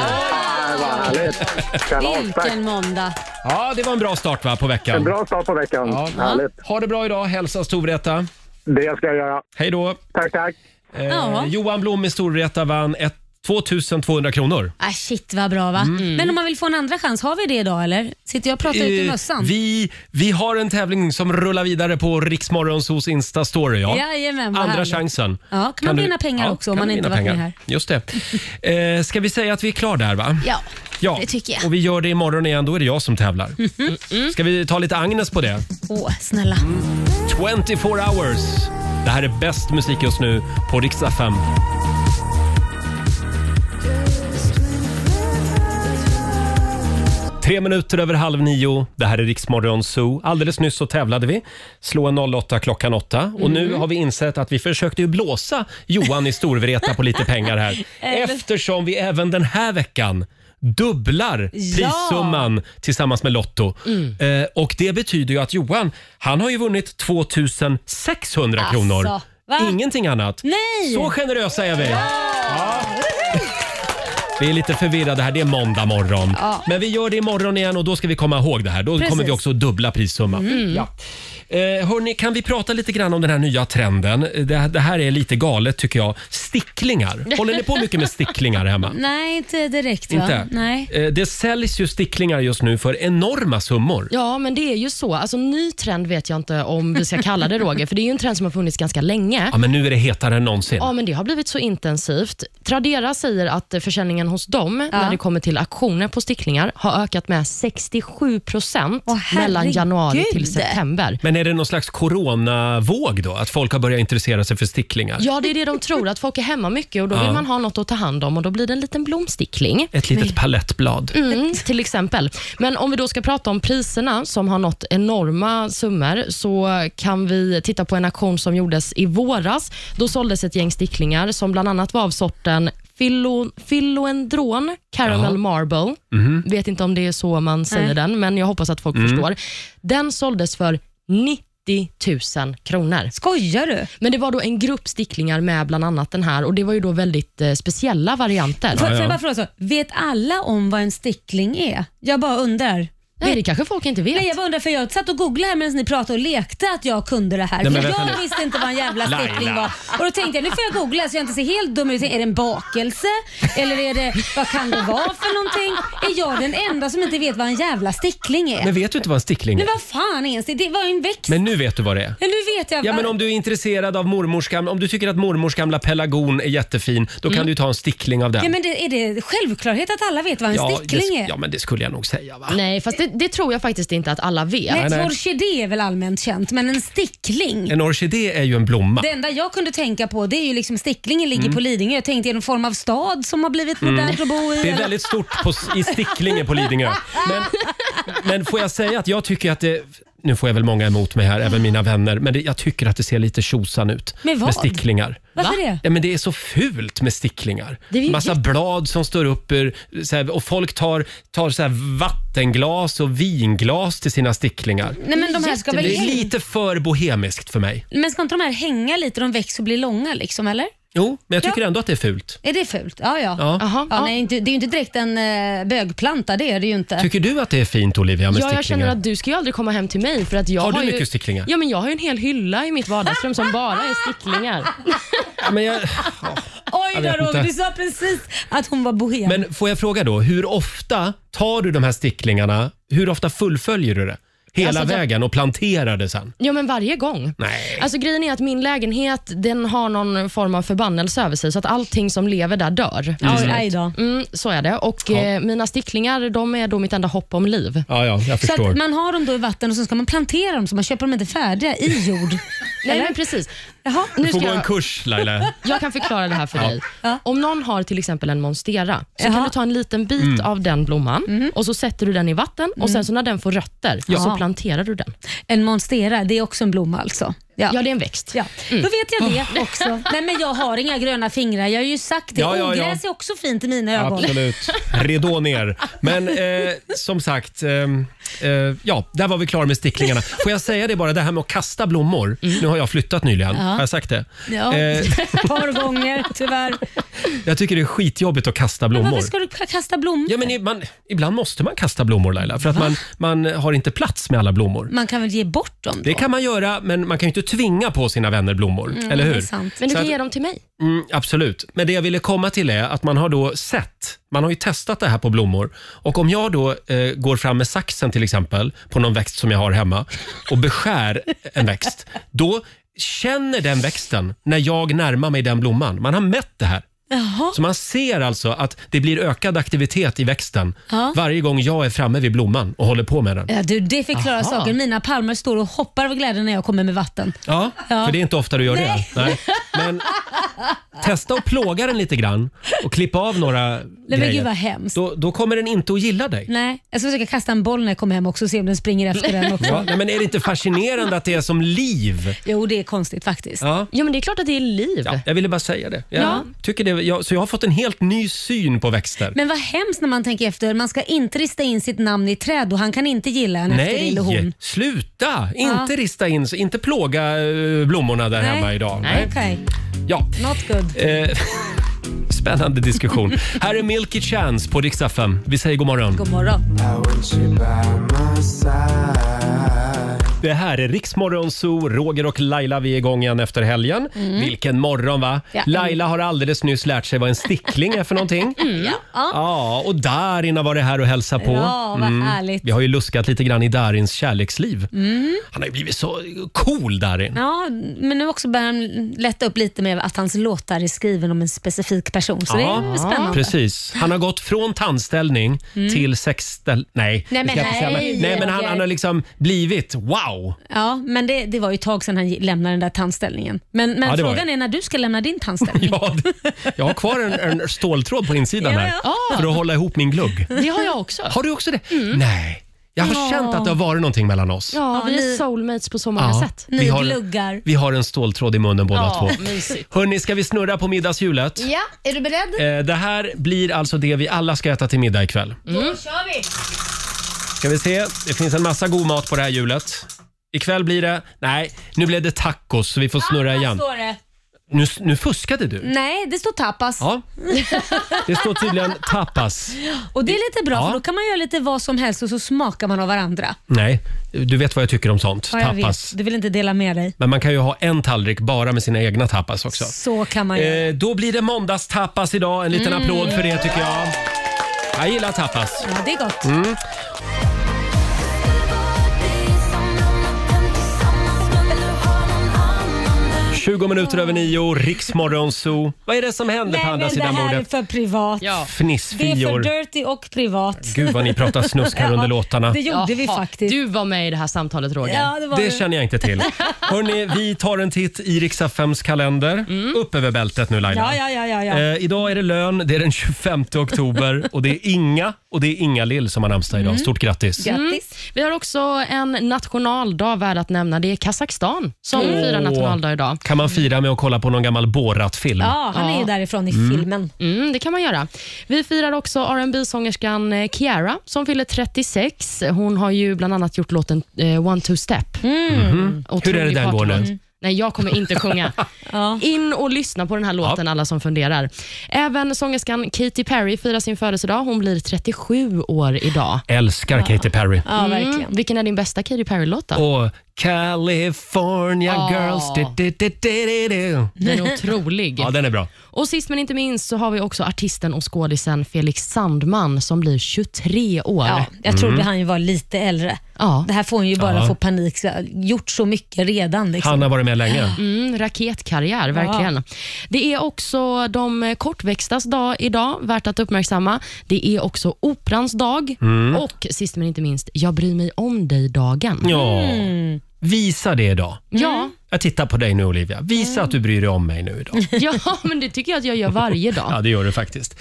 S2: Vilken måndag.
S1: Ja, det var en bra start va, på veckan.
S5: En bra start på veckan.
S1: Ja.
S5: Härligt.
S1: Ha det bra idag. Hälsa Storvreta.
S5: Det ska jag göra.
S1: Hej då.
S5: Tack, tack.
S1: Eh,
S2: Ja.
S1: Johan Blom i Storvreta vann ett 2200 kronor.
S2: Ah, shit vad bra va?
S1: Mm.
S2: Men om man vill få en andra chans, har vi det idag eller? Sitter jag och pratar ut ur
S1: Eh,
S2: mössan?
S1: Vi, vi har en tävling som rullar vidare på Riksmorgons hos Insta-story. Ja.
S2: Jajamän, vad
S1: Andra
S2: härligt.
S1: chansen.
S2: Ja, kan, man
S1: du-
S2: vinna pengar
S1: Ja,
S2: också om
S1: kan
S2: man
S1: du
S2: inte
S1: vinna
S2: varit med
S1: pengar.
S2: här?
S1: Just det. Eh, ska vi säga att vi är klara där va?
S2: Ja,
S1: Ja,
S2: det tycker jag.
S1: och vi gör det imorgon igen. Då är det jag som tävlar.
S2: Mhm.
S1: Ska vi ta lite Agnes på det?
S2: Åh, snälla.
S1: Mm. 24 hours. Det här är bäst musik just nu på Riksdag 5. Tre minuter över halv nio. Det här är Riksmorgon Zoo. Alldeles nyss så tävlade vi. Slå en 08 klockan åtta. Och nu
S16: Mm.
S1: har vi insett att vi försökte ju blåsa Johan i Storvreta på lite pengar här.
S16: Eller-
S1: Eftersom vi även den här veckan dubblar
S16: Ja. Mm.
S1: prissumman tillsammans med Lotto. Eh, och det betyder ju att Johan, han har ju vunnit 2600
S2: Alltså,
S1: kronor.
S2: va?
S1: Ingenting annat.
S2: Nej!
S1: Så generösa är vi. Vi är lite förvirrade här. Det är måndag morgon.
S2: Ja.
S1: Men vi gör det imorgon igen och då ska vi komma ihåg det här. Då
S16: Precis.
S1: kommer vi också dubbla prissumman.
S16: Mm.
S1: Ja. Eh, hörni, kan vi prata lite grann om den här nya trenden? Det, det här är lite galet tycker jag. Sticklingar. Håller ni på mycket med sticklingar hemma?
S2: Nej, inte direkt va?
S1: Inte?
S2: Nej.
S1: Eh, Det säljs ju sticklingar just nu för enorma summor.
S3: Ja, men det är ju så. Alltså, ny trend vet jag inte om vi ska kalla det, Roger, för det är ju en trend som har funnits ganska länge.
S1: Ja, men nu är det hetare än någonsin.
S3: Ja, men det har blivit så intensivt. Tradera säger att eh, försäljningen hos dem, när det kommer till auktioner på sticklingar, har ökat med 67 procent mellan januari till september.
S1: Men är det någon slags coronavåg då? Att folk har börjat intressera sig för sticklingar?
S3: Ja, det är det de tror, att folk är hemma mycket och då
S1: Ja.
S3: vill man ha något att ta hand om och då blir det en liten blomstickling.
S1: Ett litet palettblad.
S3: Mm, till exempel. Men om vi då ska prata om priserna som har nått enorma summor så kan vi titta på en auktion som gjordes i våras. Då såldes ett gäng sticklingar som bland annat var av sorten Philo, Philoendron Caramel
S15: Ja.
S3: Marble.
S15: Mhm.
S3: Vet inte om det är så man säger
S15: Nej.
S3: den, men jag hoppas att folk
S15: Mm.
S3: förstår. Den såldes för 90 90 000 kronor.
S2: Skojar du?
S3: Men det var då en grupp sticklingar med bland annat den här och det var ju då väldigt eh, speciella varianter.
S2: Får, får jag bara fråga så, vet alla om vad en stickling är? Jag bara undrar.
S3: Nej, det kanske folk inte vet.
S2: Nej, jag bara undrar för jag satt och googlade här medan ni pratade och lekte att jag kunde det här.
S1: Nej, men
S2: för
S1: vänta
S2: jag
S1: nu.
S2: visste inte vad en jävla
S1: Laila.
S2: stickling var. Och då tänkte jag, nu får jag googla så jag inte ser helt dum ut. Är det en bakelse? Eller är det, vad kan det vara för någonting? Är jag den enda som inte vet vad en jävla stickling är?
S1: Men vet du inte vad en stickling är?
S2: Men vad fan är en stickling? Det var ju en växt.
S1: Men nu vet du vad det är.
S2: Ja, nu vet jag.
S1: Ja,
S2: vad-
S1: men om du är intresserad av mormors gamla, om du tycker att mormors gamla pelargon är jättefin, då kan du ta en stickling av den.
S2: Mm. Ja, men det, är det självklarhet att alla vet vad en
S1: det,
S2: stickling
S1: sk-
S2: är?
S1: ja, men det skulle jag nog säga. Va?
S3: Nej, fast det, det tror jag faktiskt inte att alla vet.
S1: Nej,
S2: Nej,
S1: nej.
S2: ett orkidé är väl allmänt känt, men en stickling?
S1: En orkidé är ju en blomma.
S2: Det enda jag kunde tänka på det är ju liksom sticklingen ligger
S1: Mm.
S2: på Lidingö. Jag tänkte är det någon form av stad som har blivit
S1: Mm.
S2: modernt att bo i?
S1: Det är
S2: eller?
S1: väldigt stort på, i Sticklingen på Lidingö. Men, men får jag säga att jag tycker att det... Nu får jag väl många emot mig här, även mina vänner. Men det, jag tycker att det ser lite tjosan ut
S2: Med Mm. vad?
S1: med sticklingar.
S2: Varför det?
S1: Ja, men det är så fult med sticklingar.
S2: Det är ju
S1: Massa blad som står upp ur, så här, och folk tar, tar så här vattenglas och vinglas till sina sticklingar.
S2: Nej, men de här ska väl
S1: det är
S2: häng-
S1: lite för bohemiskt för mig.
S2: Men ska inte de här hänga lite? De växer och blir långa liksom, eller?
S1: Jo, men jag tycker
S2: Ja.
S1: ändå att det är fult.
S2: Är det fult? Ja, ja.
S1: Ja. Aha, ja.
S2: Nej, inte, det är ju inte direkt en eh, bögplanta, det är det ju inte.
S1: Tycker du att det är fint Olivia med
S3: Ja, jag
S1: sticklingar?
S3: känner att du ska ju aldrig komma hem till mig för att jag
S1: Har
S3: har,
S1: du
S3: ju...
S1: mycket sticklingar?
S3: Ja, men jag har ju en hel hylla i mitt vardagsrum som bara är sticklingar.
S1: Ja, men jag...
S2: Oj
S1: Jag
S2: då
S1: vet
S2: Roger,
S1: inte.
S2: du sa precis att hon var bohem.
S1: Men får jag fråga då, hur ofta tar du de här sticklingarna? Hur ofta fullföljer du det? Hela
S3: Alltså, jag-
S1: vägen och planterar det sen?
S3: Ja, men varje gång.
S1: Nej.
S3: Alltså grejen är att min lägenhet den har någon form av förbannelse över sig så att allting som lever där dör.
S1: Oj, Mm. aj
S3: Mm, så är det. Och eh, mina sticklingar de är då mitt enda hopp om liv.
S1: Ja, ja, jag
S2: Så
S1: förstår.
S2: att man har dem då i vatten och så ska man plantera dem så man köper dem inte färdiga i jord.
S3: Nej, men precis.
S2: Jaha,
S1: Du
S3: nu
S1: får
S3: ska
S1: gå en
S3: jag...
S1: kurs Laila.
S3: Jag kan förklara det här för
S1: Ja.
S3: dig. Om någon har till exempel en monstera, så
S2: Jaha. Mhm.
S3: kan du ta en liten bit
S1: Mm.
S3: av den blomman och så sätter du den i vatten och
S2: Mm.
S3: sen så när den får rötter
S2: Ja.
S3: så planterar du den.
S2: En monstera, det är också en blomma alltså? Ja,
S3: det är en växt.
S2: Ja.
S1: Mm.
S2: Då vet jag det också. Nej, men jag har inga gröna fingrar, jag har ju sagt det.
S1: Oh. Ja, ja, ja.
S2: Ogräs är också fint i mina ögon.
S1: Absolut. Ridå ner. Men eh, som sagt, ehm, eh, ja, där var vi klara med sticklingarna. Får jag säga det bara, det här med att kasta blommor. Nu har jag flyttat nyligen,
S2: Mm. Ja.
S1: har jag sagt det?
S2: Ja,
S1: Eh,
S2: ett par gånger tyvärr.
S1: jag tycker det är skitjobbigt att kasta blommor.
S2: Varför ska du k- kasta blommor?
S1: Ja, men i- man, ibland måste man kasta blommor Laila, för att man, man har inte plats med alla blommor.
S2: Man kan väl ge bort dem då?
S1: Det kan man göra, men man kan ju inte tvinga på sina vänner blommor.
S2: Mm,
S1: eller
S2: det är
S1: hur?
S2: sant.
S3: Men du
S1: Så
S3: kan
S1: att,
S3: ge dem till mig.
S1: mm, absolut. Men det jag ville komma till är att man har då sett, man har ju testat det här på blommor. Och om jag då eh, går fram med saxen till exempel, på någon växt som jag har hemma och beskär en växt, då känner den växten när jag närmar mig den blomman. Man har mätt det här.
S2: Jaha.
S1: Så man ser alltså att det blir ökad aktivitet i växten
S2: Ja.
S1: varje gång jag är framme vid blomman och håller på med den.
S2: Ja, du, det förklarar
S1: Aha.
S2: saker. Mina palmer står och hoppar av glädje när jag kommer med vatten.
S1: Ja,
S2: Ja.
S1: för det är inte ofta du gör
S2: Nej.
S1: det. Nej. Men testa att plåga den lite grann och klippa av några
S2: men
S1: grejer.
S2: gud vad hemskt.
S1: Då, då kommer den inte att gilla dig.
S2: Nej, jag ska försöka kasta en boll när jag kommer hem också och se om den springer efter den också.
S1: Ja, nej, men är det inte fascinerande att det är som liv?
S2: Jo, det är konstigt faktiskt.
S1: Ja.
S3: Ja, men det är klart att det är liv.
S1: Ja, jag ville bara säga det. Jag
S2: Ja.
S1: tycker det jag, så jag har fått en helt ny syn på växter.
S2: Men vad hemskt när man tänker efter. Man ska inte rista in sitt namn i träd och han kan inte gilla en efter det eller hon.
S1: Nej, sluta!
S2: Ja.
S1: Inte rista in, så- inte plåga eh, blommorna där hemma idag.
S2: Nej. Okej,
S1: Ja.
S2: not good.
S1: Eh, spännande diskussion. Här är Milky Chance på Rix FM. Vi säger god morgon.
S2: God morgon.
S1: Det här är Riksmorgon Zoo, Roger och Laila. Vi är igång igen efter helgen.
S2: Mm.
S1: Vilken morgon va?
S2: Ja.
S1: Laila har alldeles nyss lärt sig vad en stickling är för någonting.
S2: Mm, Ja.
S1: Ja, och Darin har varit här och hälsat på. Mm.
S2: Ja, vad härligt.
S1: Vi har ju luskat lite grann i Darins kärleksliv.
S2: Mm.
S1: Han har ju blivit så cool, Darin.
S2: Ja, men nu också börjar han lätta upp lite med att hans låtar är skriven om en specifik person. Så det är spännande.
S1: Precis. Han har gått från tandställning
S2: Mm.
S1: till sexställ... Nej,
S2: Nej,
S1: det
S2: men
S1: ska jag inte säga,
S2: nej,
S1: nej, men han,
S2: Roger.
S1: han har liksom blivit wow.
S2: Ja, men det, det var ju ett tag sedan han lämnade den där tandställningen. Men, men
S1: Ja, det var
S2: frågan
S1: det.
S2: är när du ska lämna din tandställning.
S1: ja, Jag har kvar en, en ståltråd på insidan
S2: Ja,
S1: här
S2: ja.
S1: för att hålla ihop min glugg.
S3: Det har jag också.
S1: Har du också det? Nej, jag har
S3: Ja.
S1: känt att det har varit någonting mellan oss.
S3: Ja,
S2: Ja,
S3: vi är
S2: ni-
S3: soulmates på så många
S1: Ja,
S3: sätt.
S1: vi har, Vi har en ståltråd i munnen båda
S3: Ja,
S1: två.
S3: mysigt.
S1: Hörni, ska vi snurra på middagshjulet?
S2: Ja, är du beredd?
S1: Eh, Det här blir alltså det vi alla ska äta till middag ikväll.
S2: Då kör vi!
S1: Ska vi se, det finns en massa god mat på det här hjulet. Ikväll blir det... Nej, nu blev det tacos så vi får snurra igen.
S15: står det.
S1: Nu, nu fuskade du.
S15: Nej, det står tapas.
S1: Ja. Det står tydligen tapas.
S2: Och det är lite bra
S1: Ja.
S2: för då kan man göra lite vad som helst och så smakar man av varandra.
S1: Nej, du vet vad jag tycker om sånt.
S2: Ja, jag
S1: Tapas.
S2: vet. Du vill inte dela med dig.
S1: Men man kan ju ha en tallrik bara med sina egna tapas också.
S2: Så kan man göra.
S1: Eh, då blir det måndagstapas idag. En liten
S2: Mm.
S1: applåd för det tycker jag. Jag gillar tapas.
S2: Ja, det är gott.
S1: Mm. Tjugo minuter över nio, Riksmorgon Zoo. Vad är det som händer på andra
S2: men
S1: sidan
S2: det här
S1: bordet?
S2: är för privat. Det är för
S1: Fnissfior.
S2: dirty och privat.
S1: Gud vad ni pratar snusk här under låtarna.
S2: Det gjorde vi faktiskt.
S3: Du var med i det här samtalet Roger.
S2: Ja, det var
S1: Det
S2: du.
S1: känner jag inte till. Hörni, vi tar en titt i Riks-FMs kalender. Upp över bältet nu Laila.
S2: Mm. Ja, ja, ja, ja, ja.
S1: Eh, idag är det lön, det är den 25 oktober och det är Inga och det är Inga Lill som har namnsdag idag.
S3: Mm.
S1: Stort grattis!
S3: Mm. Vi har också en nationaldag värd att nämna. Det är Kazakstan som
S1: Åh.
S3: firar nationaldag idag.
S1: Kan man fira med att kolla på någon gammal Borat-film?
S2: Ja, han är ju därifrån i
S1: Mm.
S2: filmen.
S3: Mm, det kan man göra. Vi firar också rb sångerskan eh, Ciara som fyller 36. Hon har ju bland annat gjort låten eh, One Two Step.
S1: Mhm. Hur är det
S3: Otrolig
S1: den går
S3: partylåt.
S1: nu?
S3: Nej, jag kommer inte sjunga. In och lyssna på den här låten, alla som funderar. Även sångerskan Katy Perry firar sin födelsedag. Hon blir 37 år idag.
S1: Älskar Katy Perry.
S3: Mm. Vilken är din bästa Katy Perry-låt då?
S1: Och California
S3: Ja.
S1: girls... Du, du, du, du, du, du.
S3: Den är otrolig.
S1: Ja, den är bra.
S3: Och sist men inte minst så har vi också artisten och skådisen Felix Sandman som blir 23 år.
S2: Ja,
S1: Mm.
S2: jag trodde han ju var lite äldre. Det här får hon ju bara
S3: Ja.
S2: få panik. Så, gjort så mycket redan. Liksom.
S1: Han har varit med länge.
S3: Mm, raketkarriär, verkligen.
S2: Ja.
S3: Det är också de kortväxtas dag idag, värt att uppmärksamma. Det är också operans dag
S1: Mm.
S3: och sist men inte minst, jag bryr mig om dig-dagen.
S1: Ja. Visa det idag.
S3: Ja.
S1: Jag tittar på dig nu Olivia. Visa att du bryr dig om mig nu idag.
S3: ja, men det tycker jag att jag gör varje dag.
S1: Ja, det gör du faktiskt.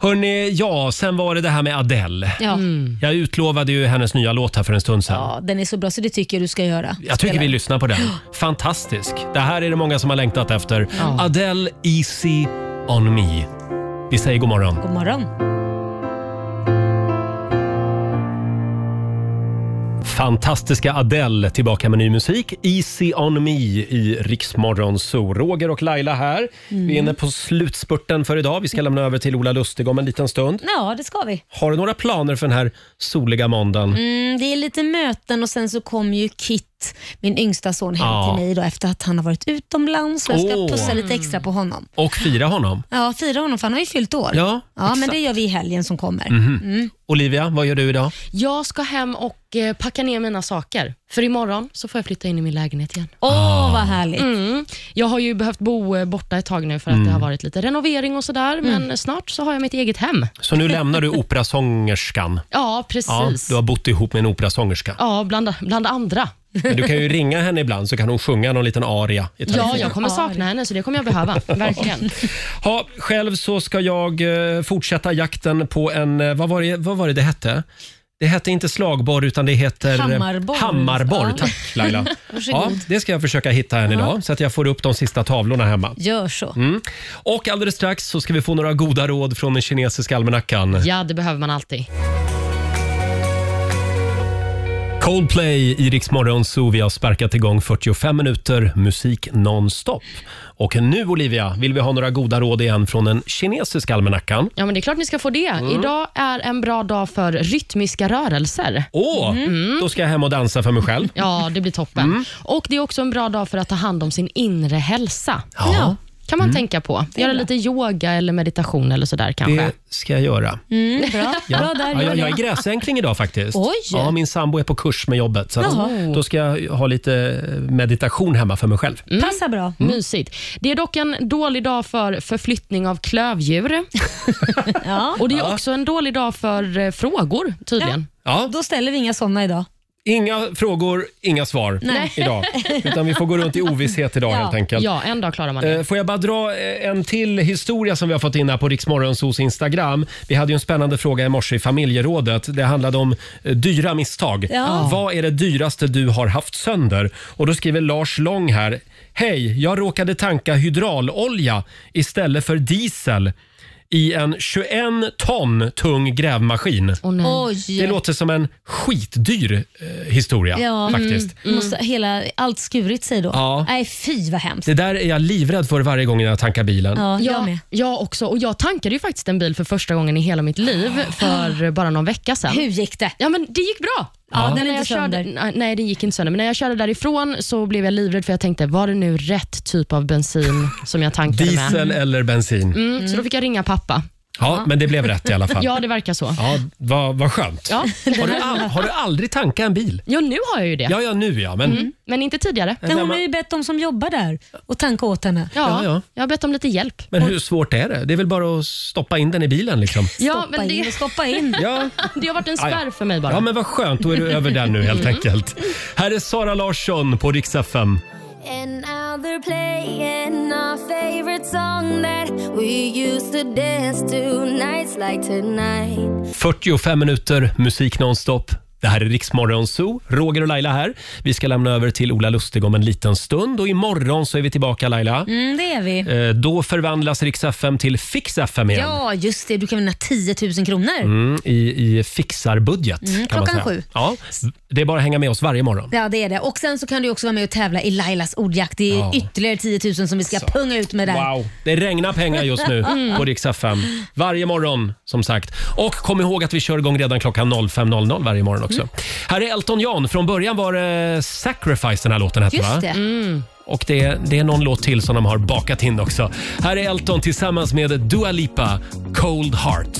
S1: Hörni, ja, sen var det det här med Adele.
S2: Ja.
S1: Jag utlovade ju hennes nya låt här för en stund sedan.
S2: Ja, den är så bra så det tycker jag du ska göra.
S1: Jag tycker vi lyssnar på den. Fantastisk. Det här är det många som har längtat efter. Adele Easy On Me. Vi säger god morgon.
S2: God morgon.
S1: Fantastiska Adele tillbaka med ny musik. Easy On Me i Riksmorgon Zoo. Roger och Laila här. Vi
S2: Mm.
S1: är inne på slutspurten för idag. Vi ska lämna över till Ola Lustig om en liten stund.
S2: Ja, det ska vi.
S1: Har du några planer för den här soliga måndagen?
S2: Mm, det är lite möten och sen så kom ju Kit, min yngsta son, hem
S1: Ja.
S2: till mig då, efter att han har varit utomlands. Så jag ska
S1: Åh.
S2: pussa lite extra på honom.
S1: Och fira honom?
S2: Ja, fira honom för han har ju fyllt år.
S1: Ja,
S2: men
S1: exakt.
S2: det gör vi i helgen som kommer.
S1: Mhm.
S2: Mm.
S1: Olivia, vad gör du idag?
S3: Jag ska hem och eh, packa ner mina saker, för imorgon så får jag flytta in i min lägenhet igen.
S2: Åh,
S1: Ah.
S2: vad härligt.
S3: Mm. Jag har ju behövt bo eh, borta ett tag nu för att
S1: Mm.
S3: det har varit lite renovering och sådär, men snart så har jag mitt eget hem.
S1: Så nu lämnar du operasångerskan.
S3: Ja, precis.
S1: du har bott ihop med en operasångerska.
S3: Ja, bland, bland andra.
S1: Men du kan ju ringa henne ibland så kan hon sjunga någon liten aria i telefon.
S3: Ja, jag kommer sakna henne, så det kommer jag behöva. Verkligen.
S1: Ha, själv så ska jag eh, fortsätta jakten på en, eh, vad var, det, vad var det det hette? Det hette inte slagborr utan det heter
S2: Hammarborr.
S1: Hammarborr,
S2: Ja.
S1: tack Laila. ja,
S2: Varsågod.
S1: det ska jag försöka hitta än
S2: Ja.
S1: idag så att jag får upp de sista tavlorna hemma.
S2: Gör så.
S1: Mm. Och alldeles strax så ska vi få några goda råd från den kinesiska almanackan.
S3: Ja, det behöver man alltid.
S1: Coldplay i Rix Morgon Zoo. Vi har sparkat igång 45 minuter musik nonstop. Och nu Olivia vill vi ha några goda råd igen från den kinesiska almanackan.
S3: Ja, men det är klart ni ska få det.
S1: Mm.
S3: Idag är en bra dag för rytmiska rörelser.
S1: Åh, då ska jag hem och dansa för mig själv.
S3: Ja, det blir toppen.
S1: Mm.
S3: Och Det är också en bra dag för att ta hand om sin inre hälsa.
S1: Ja.
S3: kan man
S1: Mm.
S3: tänka på. Göra lite yoga eller meditation eller sådär kanske.
S1: Det ska jag göra.
S2: Mm, bra.
S1: Ja.
S2: bra där,
S1: ja, jag, jag
S2: Julia.
S1: är gräsänkling idag faktiskt.
S2: Oj.
S1: Ja, min sambo är på kurs med jobbet. Så att
S2: Jaha.
S1: då ska jag ha lite eh, meditation hemma för mig själv.
S2: Passar bra.
S3: Mysigt. Det är dock en dålig dag för förflyttning av klövdjur. Och Det är också en dålig dag för eh, frågor tydligen.
S1: Ja.
S2: Då ställer vi inga sådana idag.
S1: Inga frågor, inga svar
S3: Nej.
S1: idag. Utan vi får gå runt i ovisshet idag
S3: ja.
S1: helt enkelt.
S3: Ja, en dag klarar man det.
S1: Eh, Får jag bara dra eh, en till historia som vi har fått in här på Riksmorgonsos Instagram. Vi hade ju en spännande fråga i morse i familjerådet. Det handlade om eh, dyra misstag.
S6: Ja.
S1: Vad är det dyraste du har haft sönder? Och då skriver Lars Lång här. Hej, jag råkade tanka hydraulolja istället för diesel. i en 21 ton tung grävmaskin.
S2: Oj.
S1: Mm. Det låter som en skitdyr eh, historia faktiskt.
S2: Mm. Måste hela, allt skurit sig då.
S1: Ja.
S2: Nej, fy vad hemskt.
S1: Det där är jag livrädd för varje gång jag tankar bilen.
S3: jag, med. jag också. Och Jag tankade ju faktiskt en bil för första gången i hela mitt liv för bara någon vecka sedan.
S2: Hur gick det?
S3: Ja, men det gick bra.
S2: Ja, den är
S3: När
S2: inte
S3: jag körde,
S2: sönder.
S3: nej, nej, den gick inte sönder. Men när jag körde därifrån så blev jag livrädd för jag tänkte, var det nu rätt typ av bensin som jag tankade med?
S1: Diesel eller bensin?
S3: Mm, Så då fick jag ringa pappa.
S1: Ja, men det blev rätt i alla fall.
S3: Ja, det verkar så.
S1: Ja, vad, vad skönt.
S3: Ja.
S1: Har, du all, har du aldrig tankat en bil?
S3: Jo, nu har jag ju det.
S1: Ja, ja nu ja. Men
S3: Mm, men inte tidigare.
S1: Men
S2: Hon har ju bett de som jobbar där och tanka åt henne.
S1: Ja, ja.
S3: Jag har bett om lite hjälp.
S1: Men hur svårt är det? Det är väl bara att stoppa in den i bilen liksom?
S3: Ja,
S2: Stoppa in och stoppa in.
S1: Ja.
S3: Det har varit en
S1: Ah, ja.
S3: spärr för mig bara.
S1: Ja, men vad skönt. Då är du över den nu helt
S3: Mm.
S1: enkelt. Här är Sara Larsson på Rix FM.
S14: And now they're playing our favorite song that we used to dance to nights like tonight.
S1: 45 minuter musik nonstop. Det här är Riksmorgon Zoo. Roger och Laila här. Vi ska lämna över till Ola Lustig om en liten stund och imorgon så är vi tillbaka Laila.
S2: Mm, det är vi.
S1: Eh, Då förvandlas Rix FM till Fix FM igen.
S2: Ja, just det. Du kan vinna 10 000 kronor.
S1: Mm, i, I fixarbudget.
S2: Mm,
S1: kan man
S2: klockan
S1: säga.
S2: sju.
S1: Ja, det är bara att hänga med oss varje morgon.
S2: Ja, det är det. Och Sen så kan du också vara med och tävla i Lailas ordjakt. Det är
S1: Ja.
S2: ytterligare 10 000 som vi ska punga ut med där.
S1: Wow, det regnar pengar just nu
S2: Mm.
S1: på Rix FM. Varje morgon, som sagt. Och kom ihåg att vi kör igång redan klockan 05.00 varje morgon också.
S2: Mm.
S1: Här är Elton John. Från början var det Sacrifice den här låten hette, va? Mm.
S2: Just det.
S1: Och det är, det är någon låt till som de har bakat in också. Här är Elton tillsammans med Dua Lipa, Cold Heart.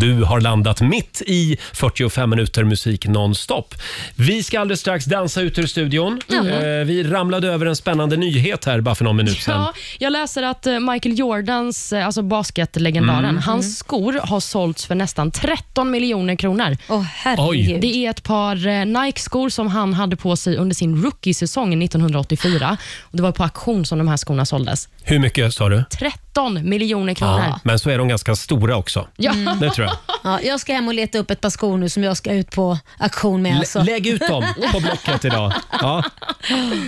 S1: Du har landat mitt i 45 minuter musik nonstop. Vi ska alldeles strax dansa ut ur studion.
S3: Jaha.
S1: Eh, Vi ramlade över en spännande nyhet här bara för någon minut sedan.
S3: Ja, jag läser att eh, Michael Jordans, eh, alltså basketlegendaren,
S1: Mm.
S3: hans skor har sålts för nästan 13 miljoner kronor.
S2: Åh
S1: herregud. Oj.
S3: Det är ett par eh, Nike-skor som han hade på sig under sin rookie-säsong 1984. Och det var på auktion som de här skorna såldes.
S1: Hur mycket sa du?
S3: 13 miljoner kronor.
S1: Ja, men så är de ganska stora också.
S3: Ja.
S2: Mm.
S1: Det tror jag.
S2: Ja, jag ska hem och leta upp ett par skor nu som jag ska ut på auktion med.
S1: Lä-
S2: Alltså.
S1: Lägg ut dem på Blocket idag. Ja.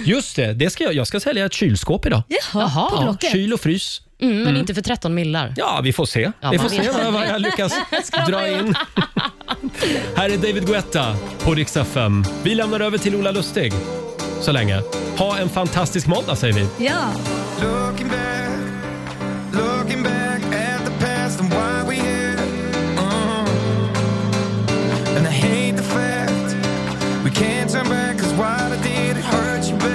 S1: Just det, det ska jag, jag ska sälja ett kylskåp idag.
S3: Jaha.
S1: Ja, kyl och frys.
S3: Mm, men
S1: Mm.
S3: inte för 13 millar.
S1: Ja, vi får se.
S3: Ja,
S1: vi
S3: man
S1: får se
S3: vet
S1: vad,
S3: aldrig.
S1: vad jag lyckas
S3: Skrapa
S1: dra
S3: ihop.
S1: in. Här är David Guetta på Rix FM. Vi lämnar över till Ola Lustig så länge. Ha en fantastisk måndag säger vi.
S2: Ja.
S10: Looking back, looking back at the past and why we here. Uh-huh. And I hate the fact we can't turn back cause what I did it hurt you bad.